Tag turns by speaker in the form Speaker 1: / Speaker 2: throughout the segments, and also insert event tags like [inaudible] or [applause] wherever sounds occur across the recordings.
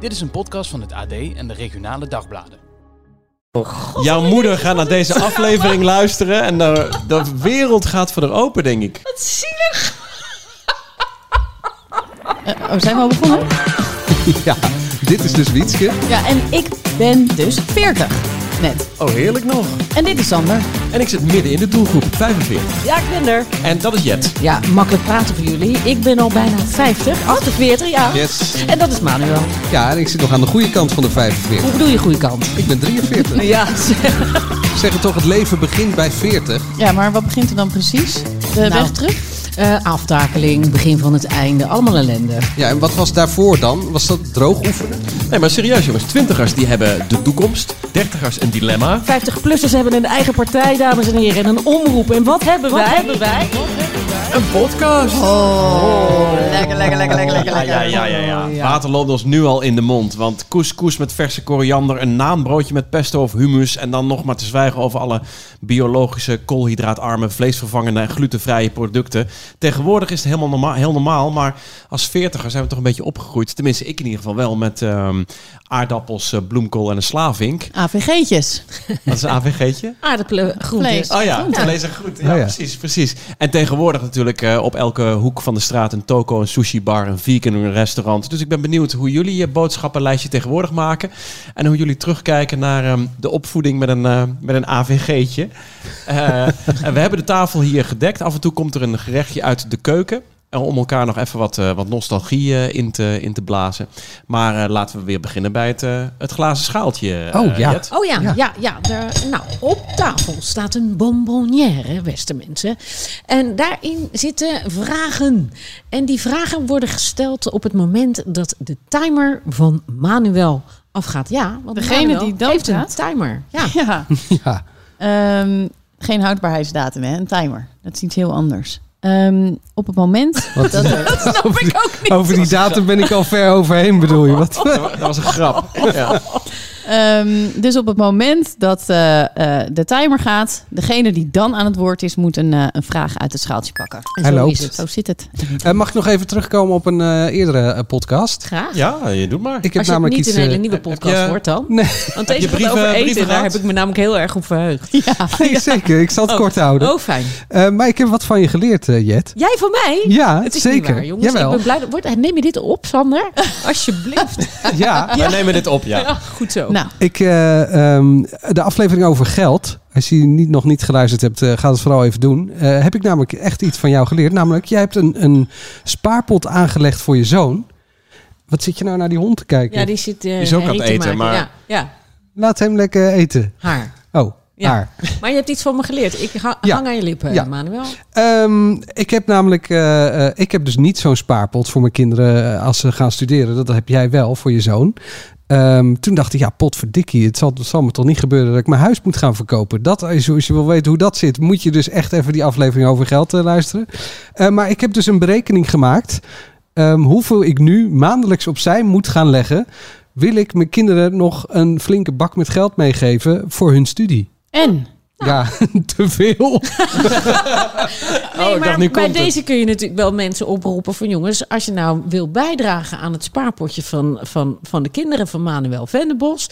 Speaker 1: Dit is een podcast van het AD en de regionale dagbladen.
Speaker 2: Jouw moeder gaat naar deze aflevering luisteren en de, de wereld gaat voor haar open, denk ik.
Speaker 3: Wat zielig.
Speaker 4: Oh, zijn we al begonnen?
Speaker 2: [laughs] Ja, dit is dus Wietske.
Speaker 4: Ja, en ik ben dus 40. Net.
Speaker 2: Oh, heerlijk nog.
Speaker 4: En dit is Sander.
Speaker 2: En ik zit midden in de doelgroep, 45.
Speaker 3: Ja, ik ben er.
Speaker 2: En dat is Jet.
Speaker 4: Ja, makkelijk praten voor jullie. Ik ben al bijna 50. 48, ja.
Speaker 2: Yes.
Speaker 4: En dat is Manuel.
Speaker 5: Ja, en ik zit nog aan de goede kant van de 45.
Speaker 4: Hoe bedoel je goede kant?
Speaker 5: Ik ben 43.
Speaker 4: Ja,
Speaker 5: Ze Zeggen toch, het leven begint bij 40.
Speaker 6: Ja, maar wat begint er dan precies? De
Speaker 3: Nou.
Speaker 6: weg terug?
Speaker 4: Eh, aftakeling, begin van het einde, allemaal ellende.
Speaker 5: Ja, en wat was daarvoor dan? Was dat droog oefenen?
Speaker 2: Nee, maar serieus jongens, twintigers die hebben de toekomst, dertigers een dilemma.
Speaker 3: 50-plussers hebben een eigen partij, dames en heren. En een omroep. En wat hebben wij? hebben wij?
Speaker 2: Een podcast.
Speaker 6: Lekker, lekker, lekker, lekker, lekker.
Speaker 2: Ja, ja, ja, ja, ja. Water loopt ons nu al in de mond, want couscous met verse koriander, een naanbroodje met pesto of hummus en dan nog maar te zwijgen over alle biologische, koolhydraatarme, vleesvervangende en glutenvrije producten. Tegenwoordig is het helemaal norma heel normaal, maar als veertiger zijn we toch een beetje opgegroeid, tenminste ik in ieder geval wel, met ehm, aardappels, eh, bloemkool en een slavink.
Speaker 6: AVG'tjes.
Speaker 2: Dat is een AVG'tje.
Speaker 3: Aardappelen, groentes.
Speaker 6: Vlees.
Speaker 2: Oh ja, te lezen goed. Ja,
Speaker 5: Oh ja.
Speaker 2: precies, precies. En tegenwoordig natuurlijk eh, op elke hoek van de straat een toko, een sushi bar, een vegan, een restaurant. Dus ik ben benieuwd hoe jullie je boodschappenlijstje tegenwoordig maken. En hoe jullie terugkijken naar ehm, de opvoeding met een, eh, met een AVG'tje. Eh, [laughs] en we hebben de tafel hier gedekt. Af en toe komt er een gerechtje uit de keuken. eh, Om elkaar nog even wat, eh, wat nostalgie eh, in, te, in te blazen. Maar eh, laten we weer beginnen bij het, eh, het glazen schaaltje. eh,
Speaker 5: Oh, ja.
Speaker 2: Jet.
Speaker 3: Oh ja, ja, ja. daar- nou, op tafel staat een bonbonnière, beste mensen. En daarin zitten vragen. En die vragen worden gesteld op het moment dat de timer van Manuel afgaat. Ja, want
Speaker 6: Degene
Speaker 3: Manuel
Speaker 6: die doodgaat?
Speaker 3: heeft een timer. Ja.
Speaker 6: Ja.
Speaker 5: [laughs] Ja.
Speaker 6: Ehm, geen houdbaarheidsdatum, hè? Een timer. Dat is iets heel anders. Ehm, op het moment
Speaker 5: Wat-
Speaker 6: [laughs] dat er...
Speaker 5: over, die, over die datum ben ik al ver overheen, bedoel je? Wat? [laughs]
Speaker 2: Dat wa- dat was een [laughs] grap. Ja.
Speaker 6: Ehm, dus op het moment dat eh, eh, de timer gaat, degene die dan aan het woord is, moet een, eh, een vraag uit het schaaltje pakken.
Speaker 3: En
Speaker 5: Hij
Speaker 3: zo
Speaker 5: loopt.
Speaker 3: is het.
Speaker 6: Zo zit het.
Speaker 5: Eh, mag ik nog even terugkomen op een eh, eerdere eh, podcast?
Speaker 3: Graag.
Speaker 2: ja, je doet maar.
Speaker 5: Ik heb
Speaker 3: Als je het
Speaker 5: namelijk
Speaker 3: niet
Speaker 5: iets.
Speaker 3: een hele
Speaker 5: eh,
Speaker 3: nieuwe podcast
Speaker 2: je-
Speaker 3: wordt dan.
Speaker 5: [laughs] Nee.
Speaker 3: [laughs] Want deze
Speaker 2: je
Speaker 3: gaat
Speaker 2: brieven-
Speaker 3: over
Speaker 2: brieven
Speaker 3: eten, daar
Speaker 2: gehad?
Speaker 3: heb ik me namelijk heel erg op verheugd.
Speaker 5: nee, zeker. Ik zal het
Speaker 3: Oh.
Speaker 5: kort houden.
Speaker 3: Oh, fijn.
Speaker 5: Eh, maar ik heb wat van je geleerd, eh, Jet.
Speaker 3: Jij van mij?
Speaker 5: Ja,
Speaker 3: Het is
Speaker 5: zeker.
Speaker 3: niet waar, jongens.
Speaker 5: Jawel.
Speaker 3: Ik ben blij. dat- Wordt, neem je dit op,
Speaker 6: [laughs]
Speaker 3: Sander? Alsjeblieft. [laughs]
Speaker 5: Ja.
Speaker 2: Wij nemen dit op, ja.
Speaker 3: Goed zo.
Speaker 6: Nou,
Speaker 5: Ik, eh, ehm, de aflevering over geld. Als je die niet, nog niet geluisterd hebt, eh, ga dat vooral even doen. Eh, heb ik namelijk echt iets van jou geleerd. Namelijk, jij hebt een, een spaarpot aangelegd voor je zoon. Wat zit je nou naar die hond te kijken?
Speaker 3: ja, die zit... eh,
Speaker 2: is ook aan het
Speaker 3: herrie te
Speaker 2: eten,
Speaker 3: maken.
Speaker 2: maar-
Speaker 3: Ja, ja,
Speaker 5: Laat hem lekker eten.
Speaker 3: haar.
Speaker 5: Oh,
Speaker 3: Ja.
Speaker 5: haar.
Speaker 3: Maar je hebt iets van me geleerd. Ik hang,
Speaker 5: Ja.
Speaker 3: hang aan je lippen,
Speaker 5: Ja.
Speaker 3: Manuel.
Speaker 2: Oh,
Speaker 5: Ehm, ik heb namelijk, eh, eh, ik heb dus niet zo'n spaarpot voor mijn kinderen eh, als ze gaan studeren. Dat heb jij wel voor je zoon. Ehm, toen dacht ik, ja, potverdikkie, het zal, het zal me toch niet gebeuren dat ik mijn huis moet gaan verkopen. Dat is, als je wil weten hoe dat zit, moet je dus echt even die aflevering over geld eh, luisteren. Eh, maar ik heb dus een berekening gemaakt ehm, hoeveel ik nu maandelijks opzij moet gaan leggen. Wil ik mijn kinderen nog een flinke bak met geld meegeven voor hun studie?
Speaker 6: en?
Speaker 5: Ja, [laughs] te veel.
Speaker 2: Oh, ik dacht, nu
Speaker 3: bij
Speaker 2: komt het.
Speaker 3: deze kun je natuurlijk wel mensen oproepen van... jongens, als je nou wil bijdragen aan het spaarpotje van, van, van de kinderen van Manuel Venderbos...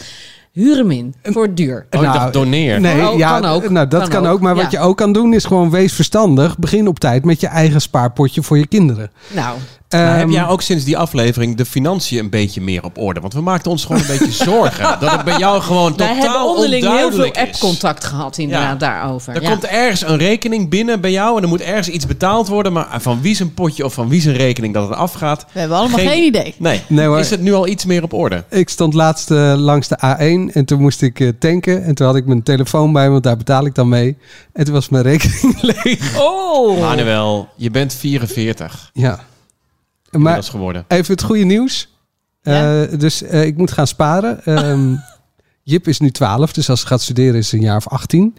Speaker 3: huur hem in, voor duur.
Speaker 2: Oh, ik
Speaker 5: Nou,
Speaker 2: dacht doneer.
Speaker 5: Nee,
Speaker 3: Oh,
Speaker 5: ja,
Speaker 3: kan ook.
Speaker 5: Nou, dat kan,
Speaker 3: Kan
Speaker 5: ook.
Speaker 3: ook,
Speaker 5: Maar wat je
Speaker 3: ja.
Speaker 5: ook kan doen is gewoon wees verstandig. Begin op tijd met je eigen spaarpotje voor je kinderen.
Speaker 3: Nou,
Speaker 2: Maar heb
Speaker 5: Ehm,
Speaker 2: jij ook sinds die aflevering de financiën een beetje meer op orde? Want we maakten ons gewoon een beetje zorgen. Dat het bij jou gewoon
Speaker 3: wij hebben
Speaker 2: totaal
Speaker 3: onderling heel veel
Speaker 2: onduidelijk is.
Speaker 3: app-contact gehad inderdaad daarover.
Speaker 2: Er
Speaker 3: ja.
Speaker 2: komt ergens een rekening binnen bij jou en er moet ergens iets betaald worden. Maar van wie zijn potje of van wie zijn rekening dat het afgaat?
Speaker 6: We hebben allemaal
Speaker 2: Geen-
Speaker 6: geen idee.
Speaker 2: Nee.
Speaker 5: Nee, hoor.
Speaker 2: Is het nu al iets meer op orde?
Speaker 5: Ik stond laatst eh, langs de A1 en toen moest ik eh, tanken. En toen had ik mijn telefoon bij me, want daar betaal ik dan mee. En toen was mijn rekening [laughs] leeg.
Speaker 3: Oh!
Speaker 2: Manuel, je bent 44
Speaker 5: Ja.
Speaker 2: maar,
Speaker 5: Maar
Speaker 2: is geworden.
Speaker 5: even het goede nieuws.
Speaker 6: Ja?
Speaker 5: Eh, dus eh, ik moet gaan sparen. Ehm, Jip is nu 12, dus als ze gaat studeren is ze een jaar of 18.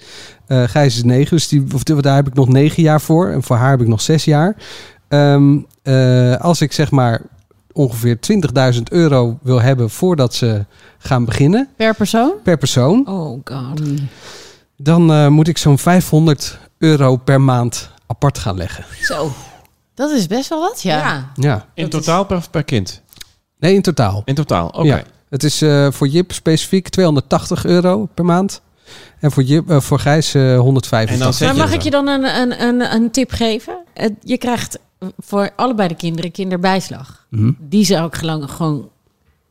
Speaker 5: Eh Gijs is 9, dus die, of, daar heb ik nog 9 jaar voor. En voor haar heb ik nog 6 jaar. Ehm, eh, als ik zeg maar ongeveer 20.000 euro wil hebben voordat ze gaan beginnen,
Speaker 6: Per persoon?
Speaker 5: per persoon,
Speaker 3: Oh god.
Speaker 2: Mm.
Speaker 5: dan eh, moet ik zo'n 500 euro per maand apart gaan leggen.
Speaker 3: Zo.
Speaker 6: Dat is best wel wat, ja.
Speaker 3: Ja.
Speaker 5: Ja.
Speaker 2: In totaal per, per kind?
Speaker 5: Nee, in totaal.
Speaker 2: In totaal, oké.
Speaker 5: Ja. Het is eh, voor Jip specifiek 280 euro per maand. En voor, Jip, eh, voor Gijs eh, 150.
Speaker 2: En dan zeg
Speaker 3: Maar
Speaker 2: je
Speaker 3: mag
Speaker 2: zo.
Speaker 3: ik je dan een, een, een, een tip geven? Het- Je krijgt voor allebei de kinderen kinderbijslag.
Speaker 5: Mhm.
Speaker 3: Die zou ik gelang- gewoon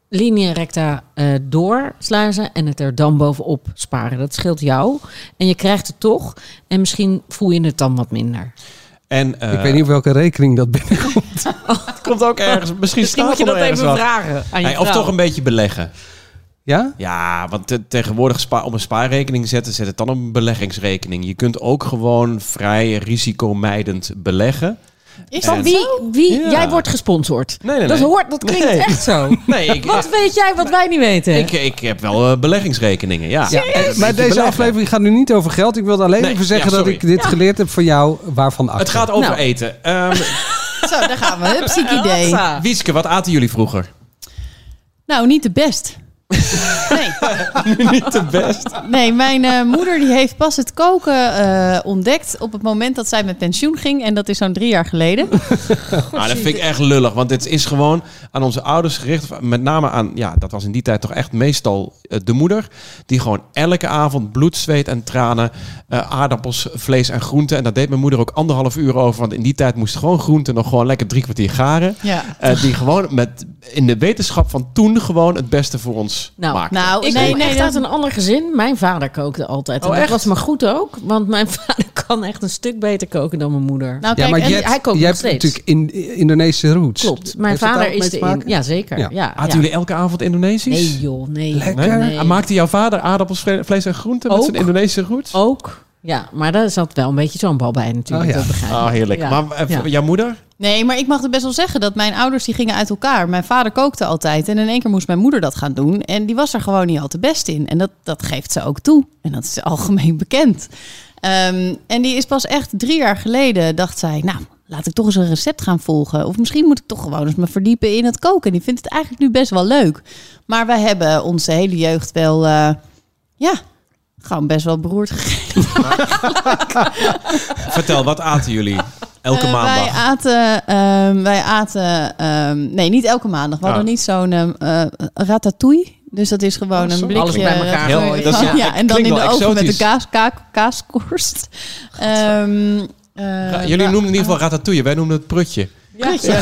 Speaker 3: linea recta eh, doorsluizen en het er dan bovenop sparen. Dat scheelt jou. En je krijgt het toch. En misschien voel je het dan wat minder.
Speaker 2: En eh,
Speaker 5: Ik weet niet op welke rekening dat binnenkomt.
Speaker 2: het komt ook ergens. Misschien,
Speaker 3: Misschien
Speaker 2: staat
Speaker 3: moet je
Speaker 2: er
Speaker 3: dat
Speaker 2: ergens
Speaker 3: even
Speaker 2: wat.
Speaker 3: vragen aan je
Speaker 2: Hey, of
Speaker 3: vrouw.
Speaker 2: toch een beetje beleggen.
Speaker 5: Ja?
Speaker 2: Ja, want te- tegenwoordig spa op een spaarrekening zetten, zet het dan op een beleggingsrekening. Je kunt ook gewoon vrij risicomijdend beleggen.
Speaker 6: Is
Speaker 2: dat
Speaker 6: dat
Speaker 2: wie-
Speaker 6: wie?
Speaker 3: Wie, wie
Speaker 2: Ja.
Speaker 3: jij wordt gesponsord.
Speaker 2: Nee, nee,
Speaker 3: Dat
Speaker 2: nee.
Speaker 3: hoort, dat klinkt
Speaker 2: Nee.
Speaker 3: echt zo.
Speaker 2: [laughs] Nee, ik,
Speaker 3: Wat weet jij wat wij niet weten?
Speaker 2: ik, ik heb wel eh, beleggingsrekeningen, ja.
Speaker 5: Ja, eh, maar deze
Speaker 2: beleggen.
Speaker 5: aflevering gaat nu niet over geld. Ik wilde alleen
Speaker 2: Nee,
Speaker 5: even zeggen
Speaker 2: ja,
Speaker 5: dat
Speaker 2: sorry.
Speaker 5: ik dit geleerd heb van jou. Waarvan achter.
Speaker 2: Het gaat over
Speaker 3: Nou.
Speaker 2: eten. Ehm,
Speaker 6: Zo, daar gaan we. Hupsiek idee.
Speaker 3: Hopsa.
Speaker 2: Wieske, wat aten jullie vroeger?
Speaker 6: Nou, niet de best. Nee,
Speaker 2: Niet de best.
Speaker 6: nee mijn eh, moeder die heeft pas het koken eh, ontdekt op het moment dat zij met pensioen ging. En dat is zo'n drie jaar geleden.
Speaker 2: Ah, dat vind ik echt lullig, want dit is gewoon aan onze ouders gericht. Of Met name aan, ja, dat was in die tijd toch echt meestal eh, de moeder. Die gewoon elke avond bloed, zweet en tranen, eh, aardappels, vlees en groenten. En daar deed mijn moeder ook anderhalf uur over, want in die tijd moest gewoon groenten nog gewoon lekker drie kwartier garen.
Speaker 6: Ja.
Speaker 2: Eh, die gewoon met, in de wetenschap van toen gewoon het beste voor ons
Speaker 3: Nou,
Speaker 2: maakte.
Speaker 6: Nou,
Speaker 3: Ik
Speaker 6: nee,
Speaker 3: kom
Speaker 6: nee,
Speaker 3: echt
Speaker 6: dat-
Speaker 3: uit een ander gezin. Mijn vader kookte altijd. en
Speaker 2: Oh,
Speaker 3: dat
Speaker 2: echt?
Speaker 3: was maar goed ook. Want mijn [laughs] vader kan echt een stuk beter koken dan mijn moeder.
Speaker 6: Nou,
Speaker 5: ja,
Speaker 6: kijk,
Speaker 5: maar
Speaker 6: en-
Speaker 5: jij,
Speaker 3: hij kookt
Speaker 5: jij hebt
Speaker 3: nog steeds.
Speaker 5: natuurlijk in, eh, Indonesische roots.
Speaker 3: Klopt. Mijn
Speaker 5: Heeft dat
Speaker 3: vader
Speaker 5: daar ook
Speaker 3: is
Speaker 5: mee
Speaker 3: de
Speaker 5: te
Speaker 3: in.
Speaker 5: maken?
Speaker 3: Ja, zeker.
Speaker 5: Ja.
Speaker 3: Ja.
Speaker 2: Aten
Speaker 3: ja.
Speaker 2: jullie Ah, elke avond Indonesisch?
Speaker 3: Nee joh, nee. joh,
Speaker 5: Lekker.
Speaker 3: nee.
Speaker 2: Maakte jouw vader aardappels, vle- vlees en groenten met
Speaker 3: Ook.
Speaker 2: zijn Indonesische roots?
Speaker 3: Ook. Ja, maar daar zat wel een beetje zo'n bal bij natuurlijk.
Speaker 5: Oh, ja.
Speaker 3: Dat begrijp ik.
Speaker 2: Ah, heerlijk.
Speaker 3: Ja.
Speaker 2: Maar eh,
Speaker 3: Ja.
Speaker 2: jouw moeder?
Speaker 6: Nee, maar ik mag het best wel zeggen dat mijn ouders die gingen uit elkaar. Mijn vader kookte altijd en in één keer moest mijn moeder dat gaan doen. En die was er gewoon niet al te best in. En dat, dat geeft ze ook toe. En dat is algemeen [laughs] bekend. Ehm, en die is pas echt drie jaar geleden, dacht zij, nou, laat ik toch eens een recept gaan volgen. Of misschien moet ik toch gewoon eens me verdiepen in het koken. Die vindt het eigenlijk nu best wel leuk. Maar wij hebben onze hele jeugd wel, eh, ja, gewoon best wel beroerd gegeten.
Speaker 2: Vertel, wat aten jullie elke
Speaker 6: Eh, Wij
Speaker 2: maandag?
Speaker 6: aten, ehm, wij aten ehm, nee, niet elke maandag. We
Speaker 2: Ah.
Speaker 6: hadden niet zo'n ehm, eh, ratatouille. Dus dat is gewoon een blikje.
Speaker 3: Oh, Alles bij elkaar
Speaker 6: ratatouille.
Speaker 2: gooien. Heel- dat is-
Speaker 6: ja, en dan
Speaker 2: klinkt
Speaker 6: in de
Speaker 2: wel
Speaker 6: oven met
Speaker 2: exotisch.
Speaker 6: de kaas, ka- kaaskorst. Ehm, eh,
Speaker 2: Ja, jullie
Speaker 6: wa-
Speaker 2: noemden in ieder geval ratatouille, wij noemden het prutje.
Speaker 6: Prutje.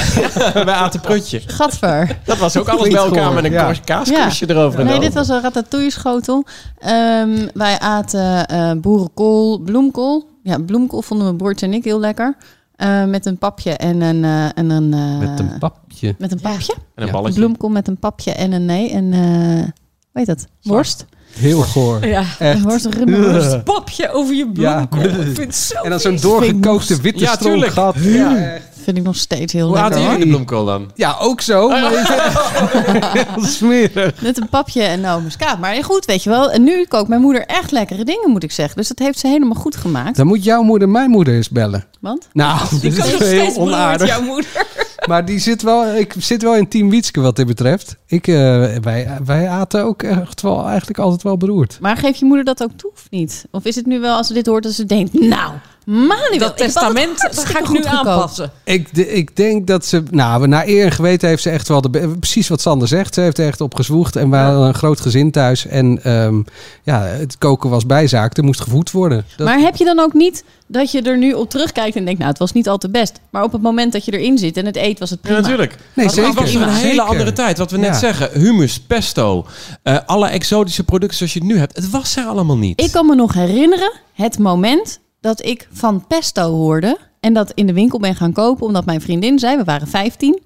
Speaker 2: [laughs] wij aten prutje.
Speaker 6: Gadver.
Speaker 2: Dat was ook alles
Speaker 5: Klinkt
Speaker 2: bij elkaar
Speaker 5: goor,
Speaker 2: met een
Speaker 5: ja.
Speaker 2: ja. kaaskorsje
Speaker 6: Ja.
Speaker 2: erover en
Speaker 6: Nee,
Speaker 2: over.
Speaker 6: dit was een ratatouille schotel. Ehm, wij aten eh, boerenkool, bloemkool. Ja, bloemkool vonden mijn broertje en ik heel lekker. Eh, met een papje en een... eh, en een eh,
Speaker 5: Met een papje.
Speaker 6: met een papje.
Speaker 2: En een
Speaker 5: Ja.
Speaker 6: Een
Speaker 2: balletje.
Speaker 6: bloemkool met een papje en een nee. En eh, hoe heet dat? Worst.
Speaker 5: Heel
Speaker 3: [laughs]
Speaker 5: goor.
Speaker 3: Ja.
Speaker 6: Een worst, een runde worst.
Speaker 5: Ugh.
Speaker 3: Papje over je
Speaker 5: Ja.
Speaker 3: bloemkool. Ik vind het zo
Speaker 5: En dan zo'n
Speaker 3: vies.
Speaker 5: doorgekookte witte
Speaker 2: Ja,
Speaker 5: stroom
Speaker 2: tuurlijk.
Speaker 5: gehad. Ja,
Speaker 6: Vind ik nog steeds heel
Speaker 2: Hoe
Speaker 6: lekker.
Speaker 2: aten jullie
Speaker 6: hoor.
Speaker 2: de bloemkool dan?
Speaker 5: ja, ook zo. maar is
Speaker 2: [laughs]
Speaker 5: het- [laughs] Heel smerig.
Speaker 6: Met een papje en nou muskaat. Maar goed, weet je wel. En nu kookt mijn moeder echt lekkere dingen, moet ik zeggen. Dus dat heeft ze helemaal goed gemaakt.
Speaker 5: Dan moet jouw moeder mijn moeder eens bellen.
Speaker 6: Want?
Speaker 3: [laughs]
Speaker 5: Nou, dit
Speaker 3: kan
Speaker 5: is heel
Speaker 3: nog steeds
Speaker 5: onaardig.
Speaker 3: Jouw moeder.
Speaker 5: [laughs] Maar die zit wel, ik zit wel in Team Wietske wat dit betreft. Ik, eh, wij, wij aten ook echt wel, eigenlijk altijd wel beroerd.
Speaker 6: Maar geeft je moeder dat ook toe of niet? Of is het nu wel als ze dit hoort dat ze denkt, nou, Manuel,
Speaker 3: Dat testament dat ga ik nu aanpassen.
Speaker 5: Ik, de- ik denk dat ze, nou, naar eer en geweten heeft ze echt wel de, be- precies wat Sander zegt. Ze heeft er echt op gezwoegd en we hadden een groot gezin thuis. En ehm, ja, het koken was bijzaak, er moest gevoed worden. Dat-
Speaker 6: Maar heb je dan ook niet dat je er nu op terugkijkt en denkt, nou, het was niet al te best. Maar op het moment dat je erin zit en het eet, was het prima.
Speaker 5: nee,
Speaker 2: Het
Speaker 5: zeker.
Speaker 2: was een hele
Speaker 5: Zeker.
Speaker 2: andere tijd. Wat we net
Speaker 5: Ja.
Speaker 2: zeggen, humus, pesto, eh, alle exotische producten zoals je het nu hebt. Het was er allemaal niet.
Speaker 6: Ik kan me nog herinneren het moment dat ik van pesto hoorde. En dat in de winkel ben gaan kopen, omdat mijn vriendin zei, we waren 15.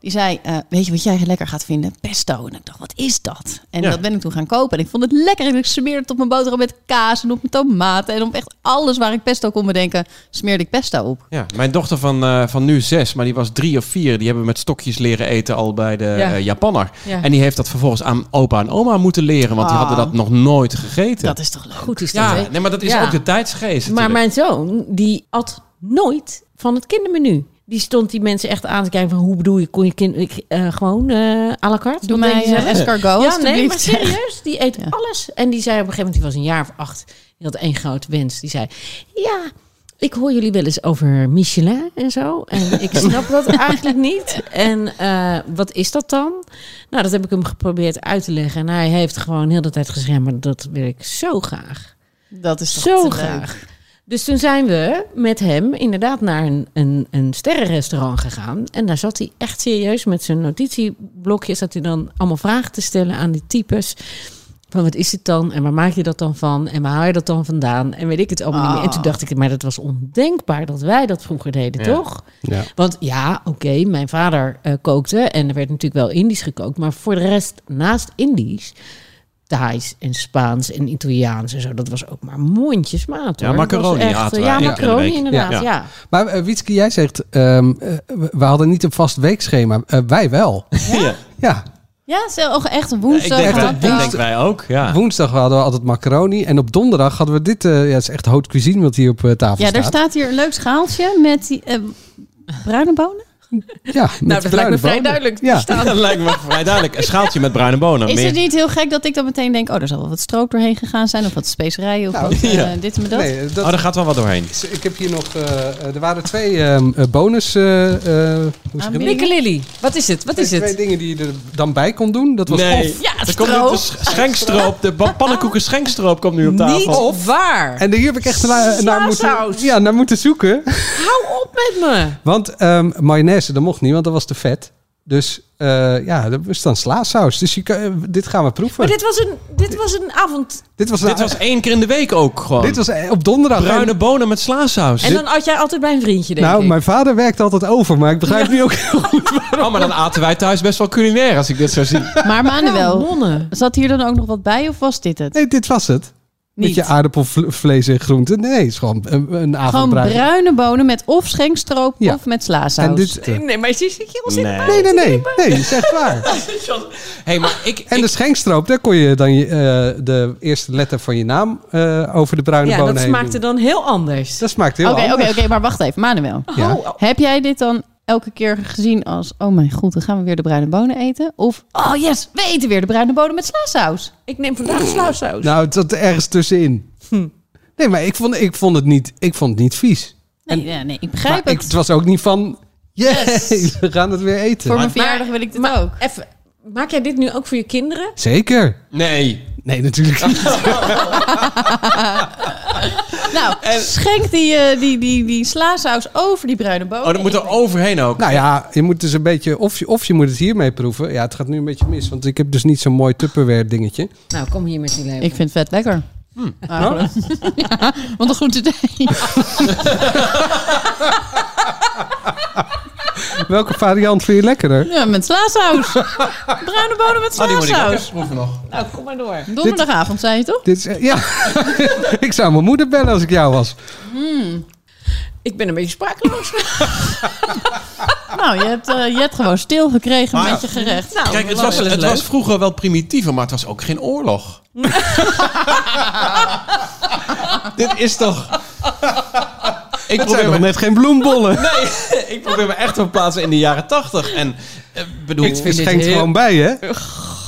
Speaker 6: Die zei, eh, weet je wat jij lekker gaat vinden? Pesto. En ik dacht, wat is dat? En
Speaker 2: Ja.
Speaker 6: dat ben ik toen gaan kopen. En ik vond het lekker. En ik smeerde het op mijn boterham met kaas en op mijn tomaten. En op echt alles waar ik pesto kon bedenken, smeerde ik pesto op.
Speaker 2: Ja, mijn dochter van, eh, van nu zes, maar die was drie of vier. Die hebben we met stokjes leren eten al bij de
Speaker 3: Ja.
Speaker 2: eh, Japanner.
Speaker 3: Ja.
Speaker 2: En die heeft dat vervolgens aan opa en oma moeten leren, want die
Speaker 6: Ah.
Speaker 2: hadden dat nog nooit gegeten.
Speaker 6: Dat is toch leuk?
Speaker 3: Goed is dat,
Speaker 2: ja,
Speaker 3: hè?
Speaker 2: nee, maar dat is
Speaker 3: Ja.
Speaker 2: ook de tijdsgeest.
Speaker 3: Maar
Speaker 2: natuurlijk.
Speaker 3: mijn zoon, die at nooit van het kindermenu. Die stond die mensen echt aan te kijken van hoe bedoel je, kon je kind ik, eh, gewoon eh à la carte?
Speaker 6: Doe
Speaker 3: Wat denk
Speaker 6: mij
Speaker 3: je zelf?
Speaker 6: eh, escargot,
Speaker 3: Ja, nee, maar
Speaker 6: alstublieft.
Speaker 3: serieus, die eet
Speaker 6: Ja.
Speaker 3: alles. En die zei op een gegeven moment, die was een jaar of acht, die had één grote wens. Die zei, ja, Ik hoor jullie wel eens over Michelin en zo. En ik snap dat eigenlijk niet. En eh, wat is dat dan? Nou, dat heb ik hem geprobeerd uit te leggen. En hij heeft gewoon heel de tijd gezegd, "Ja, maar dat wil ik zo graag.
Speaker 6: [laughs] Dat is toch
Speaker 3: Zo
Speaker 6: te
Speaker 3: graag. Dus toen zijn we met hem inderdaad naar een, een, een sterrenrestaurant gegaan. En daar zat hij echt serieus met zijn notitieblokje. Zat hij dan allemaal vragen te stellen aan die types. Van wat is het dan? En waar maak je dat dan van? En waar haal je dat dan vandaan? En weet ik het allemaal niet meer. En toen
Speaker 6: Ah.
Speaker 3: dacht ik, maar dat was ondenkbaar dat wij dat vroeger deden,
Speaker 2: Ja.
Speaker 3: toch?
Speaker 5: Ja.
Speaker 3: Want ja, oké, mijn vader eh, kookte en er werd natuurlijk wel Indisch gekookt. Maar voor de rest, naast Indisch, Thais en Spaans en Italiaans en zo, dat was ook maar mondjesmaat.
Speaker 2: Ja,
Speaker 3: hoor. Dat was
Speaker 2: macaroni
Speaker 3: echt,
Speaker 2: aten
Speaker 3: eh,
Speaker 2: wij
Speaker 3: Ja,
Speaker 2: één keer in de
Speaker 3: macaroni
Speaker 2: week.
Speaker 3: inderdaad,
Speaker 2: Ja.
Speaker 3: ja.
Speaker 5: Maar eh, Wietske, jij zegt, ehm, eh, we- we hadden niet een vast weekschema. Eh, wij wel.
Speaker 2: Ja.
Speaker 5: Ja,
Speaker 6: Ja, zo, oh, echt een
Speaker 2: Ik
Speaker 6: woensdag.
Speaker 2: denk,
Speaker 5: Echt
Speaker 2: wij,
Speaker 5: een
Speaker 6: hotdag.
Speaker 2: ik denk wij ook. Ja.
Speaker 5: woensdag hadden we altijd macaroni. En op donderdag hadden we dit, eh ja, het is echt haute cuisine wat hier op eh, tafel
Speaker 6: Ja,
Speaker 5: staat.
Speaker 6: daar staat hier een leuk schaaltje met die, eh, bruine bonen.
Speaker 5: Ja,
Speaker 3: Nou,
Speaker 5: met bruine bonen. Ja.
Speaker 2: [laughs]
Speaker 3: [laughs]
Speaker 2: Dat lijkt me vrij duidelijk. Een schaaltje met bruine bonen.
Speaker 6: Is
Speaker 2: Meer-
Speaker 6: het niet heel gek dat ik dan meteen denk, oh, er zal wel wat strook doorheen gegaan zijn of wat specerijen of
Speaker 5: Nou,
Speaker 6: wat, eh,
Speaker 2: ja.
Speaker 6: dit en dat.
Speaker 5: Nee, dat,
Speaker 2: Oh, daar gaat wel wat doorheen.
Speaker 5: is- ik heb hier nog, eh, eh, er waren twee ehm, eh, bonus, eh, eh, hoe zeg je dat?
Speaker 6: Aanbiedingen.
Speaker 3: Lily, wat is het? Ah, Wat is
Speaker 5: Twee
Speaker 3: het?
Speaker 5: dingen die je er dan bij kon doen. Dat was
Speaker 2: Nee,
Speaker 5: of.
Speaker 2: er komt nu de sch- schenkstroop. De ba- pannenkoeken schenkstroop komt nu op
Speaker 3: Niet
Speaker 2: tafel.
Speaker 3: waar.
Speaker 5: En hier heb ik echt naar, naar, moeten,
Speaker 3: Slaasaus.
Speaker 5: ja, naar moeten zoeken.
Speaker 3: Hou op met me.
Speaker 5: Want ehm, mayonaise, dat mocht niet, want dat was te vet. Dus eh, ja, er was dan slaasaus. Dus je kan- eh, dit gaan we proeven.
Speaker 3: Maar dit was een, dit was een avond.
Speaker 5: Dit was, eh,
Speaker 2: Dit was één keer in de week ook gewoon.
Speaker 5: dit was eh, op donderdag.
Speaker 2: Bruine bonen met slaasaus.
Speaker 3: En dan had jij altijd bij een vriendje, denk
Speaker 5: nou,
Speaker 3: ik.
Speaker 5: mijn vader werkt altijd over, maar ik begrijp nu ook. [laughs]
Speaker 2: Oh, maar dan aten wij thuis best wel culinair als ik dit zo zie.
Speaker 6: Maar
Speaker 3: Ja,
Speaker 6: Manuel,
Speaker 3: nonnen.
Speaker 6: zat hier dan ook nog wat bij of was dit het?
Speaker 5: Nee, dit was het. Met
Speaker 6: Niet.
Speaker 5: je aardappelvlees en groenten. Nee, het is gewoon een, een
Speaker 6: Gewoon
Speaker 5: avondbruin.
Speaker 6: bruine bonen met of schenkstroop
Speaker 5: Ja.
Speaker 6: of met slaasaus.
Speaker 5: en dit, nee,
Speaker 3: Nee, maar zie je,
Speaker 2: Nee.
Speaker 5: nee, nee, nee, dat is echt
Speaker 3: [laughs]
Speaker 5: waar.
Speaker 2: hey, maar ik,
Speaker 5: En
Speaker 2: ik-
Speaker 5: de schenkstroop, daar kon je dan je, eh, de eerste letter van je naam eh, over de bruine
Speaker 3: Ja,
Speaker 5: bonen
Speaker 3: dat
Speaker 5: heen
Speaker 3: smaakte
Speaker 5: doen.
Speaker 3: dan heel anders.
Speaker 5: Dat smaakt heel
Speaker 6: Oké, oké,
Speaker 5: anders.
Speaker 6: oké, maar wacht even, Manuel.
Speaker 5: Ja.
Speaker 3: Oh,
Speaker 6: Heb jij dit dan elke keer gezien als, oh mijn god, dan gaan we weer de bruine bonen eten? Of, oh yes, we eten weer de bruine bonen met slaasaus.
Speaker 3: ik neem vandaag slaasaus.
Speaker 5: Nou, het zat ergens tussenin. Nee, maar ik vond, ik vond, het, niet, ik vond het niet vies.
Speaker 6: Nee, eh, nee, nee, ik begrijp
Speaker 5: maar
Speaker 6: het.
Speaker 5: ik, het was ook niet van, yes, [laughs] we gaan het weer eten.
Speaker 6: Voor mijn
Speaker 3: Maar-
Speaker 6: verjaardag wil ik dit
Speaker 3: maar
Speaker 6: ook.
Speaker 3: Even, maak jij dit nu ook voor je kinderen?
Speaker 5: Zeker.
Speaker 2: Nee.
Speaker 5: Nee, natuurlijk niet. [laughs]
Speaker 6: Nou, schenk die, eh, die, die, die slaasaus over die bruine bonen.
Speaker 2: Oh, dat moet er overheen ook.
Speaker 5: nou ja, je moet dus een beetje, of je, of je moet het hiermee proeven. Ja, het gaat nu een beetje mis, want ik heb dus niet zo'n mooi Tupperware dingetje.
Speaker 3: Nou, kom hier met die leven.
Speaker 6: Ik vind het vet lekker.
Speaker 2: Hmm.
Speaker 6: [laughs] Eigenlijk. Ja, want een groente thee.
Speaker 5: Welke variant vind je lekkerder?
Speaker 6: [laughs] Ja, met slaasaus. Bruine bonen met
Speaker 2: Oh, die moet ik ook
Speaker 6: slaasaus.
Speaker 2: even proeven nog.
Speaker 3: Nou, kom maar door.
Speaker 6: Donderdagavond, zei je toch?
Speaker 5: Dit is, eh, ja, [laughs] ik zou mijn moeder bellen als ik jou was.
Speaker 3: Ik ben een beetje sprakeloos.
Speaker 6: Nou, je hebt, eh, je hebt gewoon stil gekregen
Speaker 2: Maar-
Speaker 6: met je gerecht. Nou,
Speaker 2: Kijk, het was,
Speaker 6: leuk.
Speaker 2: het was vroeger wel primitiever, maar het was ook geen
Speaker 5: [laughs]
Speaker 2: oorlog. Dit is [laughs] toch... Ik
Speaker 5: Het zijn
Speaker 2: probeer,
Speaker 5: nog
Speaker 2: me,
Speaker 5: net geen bloembollen.
Speaker 2: [laughs] nee, [laughs] ik probeer me echt te verplaatsen in de jaren tachtig. En eh, bedoel,
Speaker 5: ik schenkt gewoon bij, hè?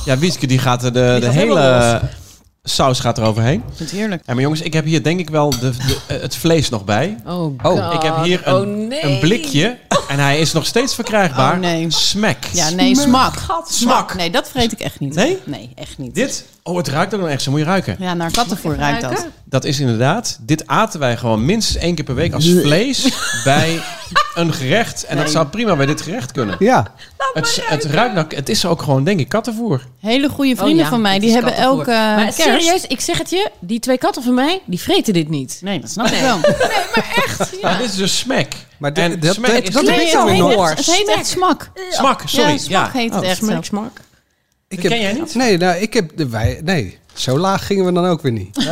Speaker 2: Ja, Wieske die gaat er de, de
Speaker 3: gaat helemaal
Speaker 2: hele saus gaat er overheen.
Speaker 6: Ik vind het heerlijk.
Speaker 2: Ja, maar jongens, ik heb hier denk ik wel de, de- eh, het vlees nog bij.
Speaker 3: Oh,
Speaker 5: Oh.
Speaker 2: Ik heb hier een,
Speaker 3: oh, nee.
Speaker 2: een blikje en hij is nog steeds verkrijgbaar.
Speaker 6: Oh, nee.
Speaker 2: Smack.
Speaker 6: Ja, nee, smak.
Speaker 2: Smak.
Speaker 6: Nee, dat vreet ik echt niet.
Speaker 2: Nee?
Speaker 6: Nee, echt niet.
Speaker 2: Dit, oh het ruikt ook nog echt, zo moet je ruiken.
Speaker 6: Ja, naar kattenvoer ruikt dat.
Speaker 2: Dat is inderdaad, dit aten wij gewoon minstens één keer per week als vlees
Speaker 5: [laughs]
Speaker 2: bij een gerecht. En dat
Speaker 6: Nee.
Speaker 2: zou prima bij dit gerecht kunnen.
Speaker 5: Ja.
Speaker 2: Het, het ruikt nou, het is ook gewoon denk ik kattenvoer.
Speaker 6: Hele goede vrienden van mij, die hebben elke eh,
Speaker 3: Maar
Speaker 6: kerst...
Speaker 3: serieus, ik zeg het je. Die twee katten van mij, die vreten dit niet.
Speaker 6: Nee, dat snap ik wel. Het
Speaker 2: Maar dit is dus smack.
Speaker 5: Maar dit-
Speaker 2: En
Speaker 5: dat-
Speaker 2: smack
Speaker 5: dat-
Speaker 2: is-
Speaker 5: dat-
Speaker 6: heet-
Speaker 5: weet ik
Speaker 6: het
Speaker 5: weer
Speaker 6: heet
Speaker 5: nooit.
Speaker 6: echt- Het heet echt smak.
Speaker 2: Smak, sorry.
Speaker 6: Ja, smak heet het
Speaker 2: Oh.
Speaker 6: echt zo.
Speaker 3: smak.
Speaker 5: Ik
Speaker 2: ken jij niet?
Speaker 5: Nee, nou, ik heb de wij. Nee, zo laag gingen we dan ook weer niet.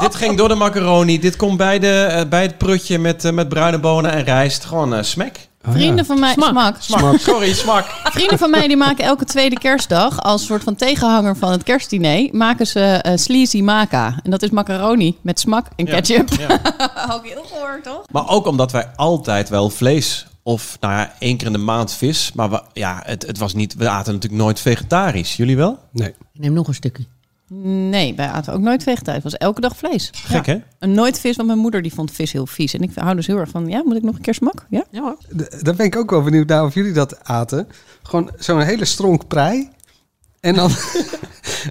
Speaker 2: Dit ging door de macaroni. Dit komt bij, de, eh, bij het prutje met, eh, met bruine bonen en rijst. Gewoon eh, smack.
Speaker 6: Vrienden van mij...
Speaker 3: Smak.
Speaker 6: Smak.
Speaker 2: smak. Sorry, smak.
Speaker 6: Vrienden van mij die maken elke tweede kerstdag als soort van tegenhanger van het kerstdiner maken ze eh, sleazy maca en dat is macaroni met smak en ketchup. [laughs]
Speaker 2: Ja, ja.
Speaker 6: Ook heel goor, toch?
Speaker 2: Maar ook omdat wij altijd wel vlees of nou ja, één keer in de maand vis. Maar we, ja, het, het was niet, we aten natuurlijk nooit vegetarisch. Jullie wel?
Speaker 5: Nee.
Speaker 3: Neem nog een stukje.
Speaker 6: Nee, wij aten ook nooit vegetarisch. Het was elke dag vlees.
Speaker 2: Gek,
Speaker 6: Ja.
Speaker 2: hè?
Speaker 6: En nooit vis, want mijn moeder die vond vis heel vies. En ik hou dus heel erg van, ja, moet ik nog een keer smak? Ja?
Speaker 3: Ja, hoor.
Speaker 5: D- Daar ben ik ook wel benieuwd naar of jullie dat aten. Gewoon zo'n hele stronk prei. En dan, [laughs]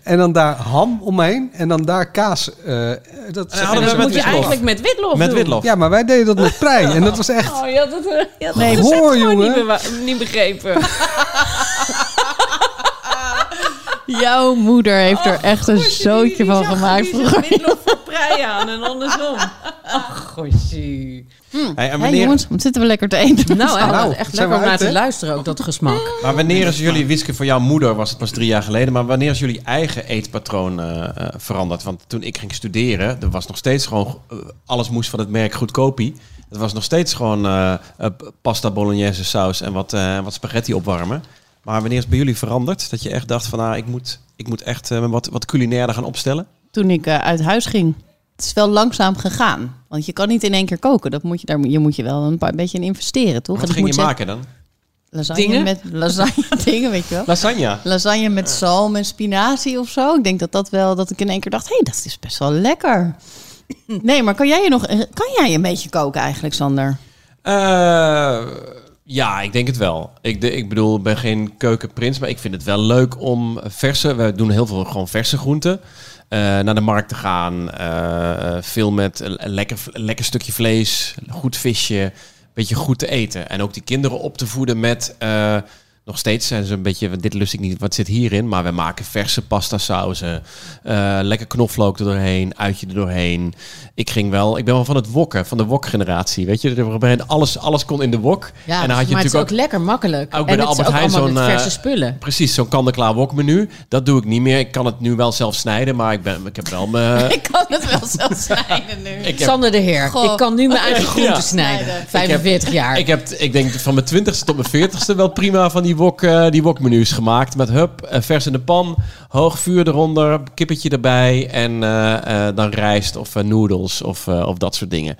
Speaker 5: en dan daar ham omheen. En dan daar kaas. eh, dat
Speaker 2: En hadden
Speaker 3: En
Speaker 2: we
Speaker 3: dat
Speaker 2: met
Speaker 3: moet je
Speaker 2: witlof.
Speaker 3: eigenlijk met witlof
Speaker 2: Met
Speaker 3: doen.
Speaker 2: witlof.
Speaker 5: Ja, maar wij deden dat met prei. En dat was
Speaker 3: [laughs]
Speaker 5: echt...
Speaker 3: Oh, je had het, eh, je had
Speaker 6: Nee, [laughs]
Speaker 3: het
Speaker 5: hoor,
Speaker 3: recept gewoon
Speaker 5: jongen.
Speaker 3: Niet, bewa- niet begrepen.
Speaker 6: Jouw moeder heeft
Speaker 2: Oh,
Speaker 6: er echt een zootje van
Speaker 3: [laughs]
Speaker 6: gemaakt vroeger.
Speaker 3: witlof voor prei aan en andersom. Ach, goshie.
Speaker 2: Hey, en
Speaker 6: Hé
Speaker 2: wanneer,
Speaker 6: jongens, wat zitten we lekker te eten?
Speaker 3: Nou, hè,
Speaker 5: Nou,
Speaker 3: dat is echt
Speaker 5: zijn
Speaker 3: lekker
Speaker 5: we
Speaker 3: om naar
Speaker 5: uit,
Speaker 3: te
Speaker 5: hè?
Speaker 3: luisteren ook, dat gesmak.
Speaker 2: maar wanneer is jullie, Wiske, voor jouw moeder was het pas drie jaar geleden, maar wanneer is jullie eigen eetpatroon eh, eh, veranderd? Want toen ik ging studeren, er was nog steeds gewoon, eh, alles moest van het merk goedkopie. Het was nog steeds gewoon eh, eh, pasta bolognese saus en wat, eh, wat spaghetti opwarmen. Maar wanneer is het bij jullie veranderd? Dat je echt dacht van, ah, ik moet, ik moet echt eh, wat, wat culinairder gaan opstellen?
Speaker 6: Toen ik eh, uit huis ging. Het is wel langzaam gegaan. Want je kan niet in één keer koken. Dat moet je, daar, moet- je moet je wel een, paar, een beetje in investeren, toch? En
Speaker 2: Wat
Speaker 6: ik
Speaker 2: ging je
Speaker 6: moet zeggen,
Speaker 2: maken dan?
Speaker 6: Lasagne
Speaker 3: Dingen?
Speaker 6: met lasagne [laughs] dingen, weet je wel.
Speaker 2: Lasagne.
Speaker 6: Lasagne met zalm en spinazie of zo. Ik denk dat dat wel, dat ik in één keer dacht, hé, hey, dat is best wel lekker. Nee, maar kan jij je nog, eh, kan jij een beetje koken eigenlijk, Sander?
Speaker 2: Eh, ja, ik denk het wel. Ik, de- ik bedoel, ik ben geen keukenprins, maar ik vind het wel leuk om verse... We doen heel veel gewoon verse groenten. eh, naar de markt te gaan. eh, eh, veel met een een lekker, een lekker stukje vlees, goed visje. Een beetje goed te eten. En ook die kinderen op te voeden met... eh, nog steeds zijn ze een beetje, dit lust ik niet, wat zit hierin? Maar we maken verse pasta sauzen, eh, lekker knoflook er doorheen, uitje er doorheen. Ik ging wel, ik ben wel van het wokken, van de wokgeneratie, weet je. Er op een gegeven moment alles, alles kon in de wok.
Speaker 3: Ja,
Speaker 2: en dan had je
Speaker 3: maar het is ook,
Speaker 2: natuurlijk ook,
Speaker 3: lekker makkelijk.
Speaker 2: ook bij
Speaker 3: en
Speaker 2: de
Speaker 3: het
Speaker 2: Albert
Speaker 3: is ook
Speaker 2: Heijn
Speaker 3: allemaal
Speaker 2: zo'n,
Speaker 3: met
Speaker 2: eh,
Speaker 3: verse spullen.
Speaker 2: precies zo'n kant-en-klaar wokmenu. Dat doe ik niet meer. Ik kan het nu wel zelf snijden, maar ik, ben, ik heb wel
Speaker 3: [laughs]
Speaker 2: mijn...
Speaker 6: [laughs] Ik kan het wel
Speaker 2: [laughs]
Speaker 6: zelf snijden nu.
Speaker 2: Eh. ik heb-
Speaker 3: Sander de Heer,
Speaker 6: Goh.
Speaker 3: ik kan nu mijn
Speaker 2: [laughs]
Speaker 3: eigen groenten snijden.
Speaker 6: Snijden.
Speaker 3: 45 jaar.
Speaker 2: Ik heb, ik denk van mijn twintigste tot mijn veertigste wel prima van die, wok, eh, die wokmenu's gemaakt. Met hup, eh, vers in de pan, hoog vuur eronder, kippetje erbij en eh, eh, dan rijst of eh, noedels of, eh, of dat soort dingen.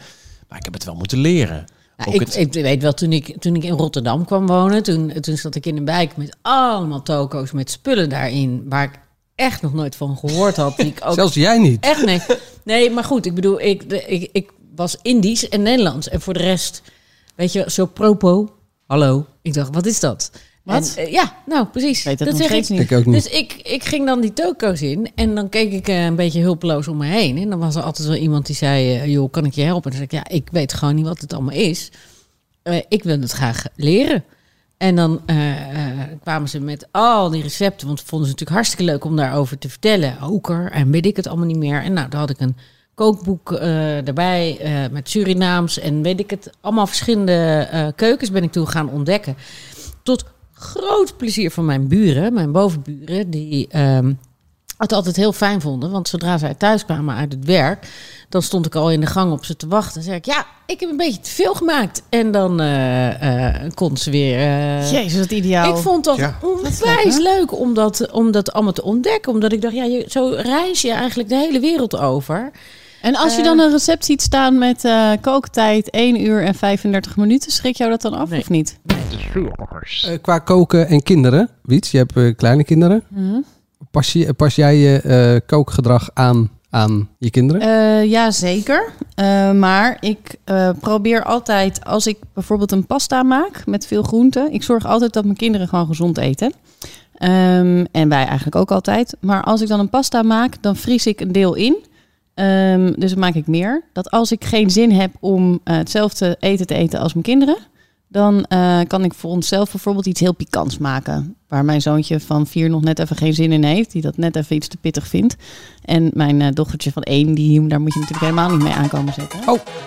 Speaker 2: Maar ik heb het wel moeten leren.
Speaker 3: Nou,
Speaker 2: Ook
Speaker 3: ik,
Speaker 2: het-
Speaker 3: ik weet wel, toen ik, toen ik in Rotterdam kwam wonen, toen, toen zat ik in een wijk met allemaal toko's met spullen daarin, waar ik echt nog nooit van gehoord had. Die ik ook
Speaker 5: Zelfs jij niet.
Speaker 3: Echt nee. Nee, maar goed, ik bedoel, ik, de- ik, ik was Indisch en Nederlands. En voor de rest, weet je, zo propo. Hallo. Ik dacht, wat is dat?
Speaker 6: Wat?
Speaker 3: En, eh, ja, nou precies.
Speaker 6: weet het
Speaker 3: dat
Speaker 6: nog
Speaker 3: zeg
Speaker 6: steeds
Speaker 3: ik.
Speaker 6: niet.
Speaker 5: Ik ook niet.
Speaker 3: Dus ik, ik ging dan die toko's in en dan keek ik eh, een beetje hulpeloos om me heen. En dan was er altijd wel iemand die zei, eh, joh, kan ik je helpen? En dan zei ik, ja, ik weet gewoon niet wat het allemaal is. Eh, ik wil het graag leren. En dan eh, eh, kwamen ze met al die recepten. Want vonden ze natuurlijk hartstikke leuk om daarover te vertellen. Hoeker en weet ik het allemaal niet meer. En nou, daar had ik een kookboek eh erbij eh, met Surinaams en weet ik het. Allemaal verschillende eh, keukens ben ik toen gaan ontdekken. Tot groot plezier van mijn buren, mijn bovenburen, die ehm, het altijd heel fijn vonden. Want zodra zij thuis kwamen uit het werk, dan stond ik al in de gang op ze te wachten. Dan zei ik, ja, ik heb een beetje te veel gemaakt. En dan eh, eh, kon ze weer... eh,
Speaker 6: Jezus, wat ideaal.
Speaker 3: ik vond dat
Speaker 5: Ja.
Speaker 3: onwijs leuk om dat, om dat allemaal te ontdekken. Omdat ik dacht, ja, je, zo reis je eigenlijk de hele wereld over.
Speaker 6: En als je dan een recept ziet staan met eh, kooktijd 1 uur en 35 minuten, schrik jou dat dan af
Speaker 3: Nee.
Speaker 6: of niet?
Speaker 5: Eh, qua koken en kinderen. Wiets, je hebt eh, kleine kinderen.
Speaker 3: Mhm.
Speaker 5: Pas, je, pas jij je eh, kookgedrag aan aan je kinderen?
Speaker 6: Eh, ja, zeker. Eh, maar ik eh, probeer altijd, als ik bijvoorbeeld een pasta maak met veel groenten, ik zorg altijd dat mijn kinderen gewoon gezond eten. Ehm, en wij eigenlijk ook altijd. Maar als ik dan een pasta maak, dan vries ik een deel in. Ehm, dus dan maak ik meer. Dat als ik geen zin heb om eh, hetzelfde eten te eten als mijn kinderen, dan eh, kan ik voor onszelf bijvoorbeeld iets heel pikants maken. Waar mijn zoontje van vier nog net even geen zin in heeft, die dat net even iets te pittig vindt. En mijn eh, dochtertje van één, die, daar moet je natuurlijk helemaal niet mee aankomen zetten.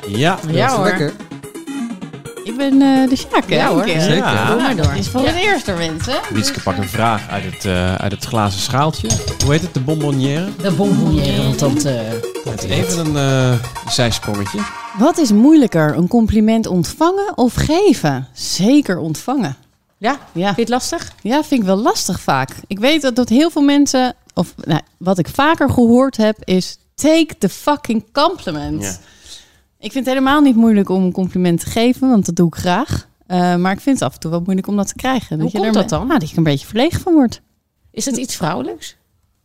Speaker 2: Ja,
Speaker 3: Eh, ja
Speaker 5: Dat is
Speaker 3: hoor.
Speaker 5: lekker.
Speaker 6: Ik ben eh, de Sjaak, hè?
Speaker 3: Ja hoor.
Speaker 6: Een keer.
Speaker 2: Zeker.
Speaker 3: Doe maar
Speaker 6: Dat
Speaker 3: door.
Speaker 6: is van het eerste, mensen.
Speaker 2: Wietske pakt een vraag uit het, eh, uit het glazen schaaltje. Hoe heet het? De bonbonnière?
Speaker 3: De bonbonnière, want dat... eh, dat
Speaker 2: Even een eh zijsprongetje.
Speaker 6: Wat is moeilijker, een compliment ontvangen of geven? Zeker ontvangen.
Speaker 3: Ja,
Speaker 6: Ja.
Speaker 3: vind je het lastig?
Speaker 6: Ja, vind ik wel lastig vaak. Ik weet dat, dat heel veel mensen, of nou, wat ik vaker gehoord heb, is take the fucking compliment.
Speaker 2: Ja.
Speaker 6: Ik vind het helemaal niet moeilijk om een compliment te geven, want dat doe ik graag. Eh, maar ik vind het af en toe wel moeilijk om dat te krijgen.
Speaker 3: Hoe
Speaker 6: je
Speaker 3: komt
Speaker 6: er-
Speaker 3: dat dan?
Speaker 6: Nou, dat ik er een beetje verlegen van word.
Speaker 3: Is dat iets vrouwelijks?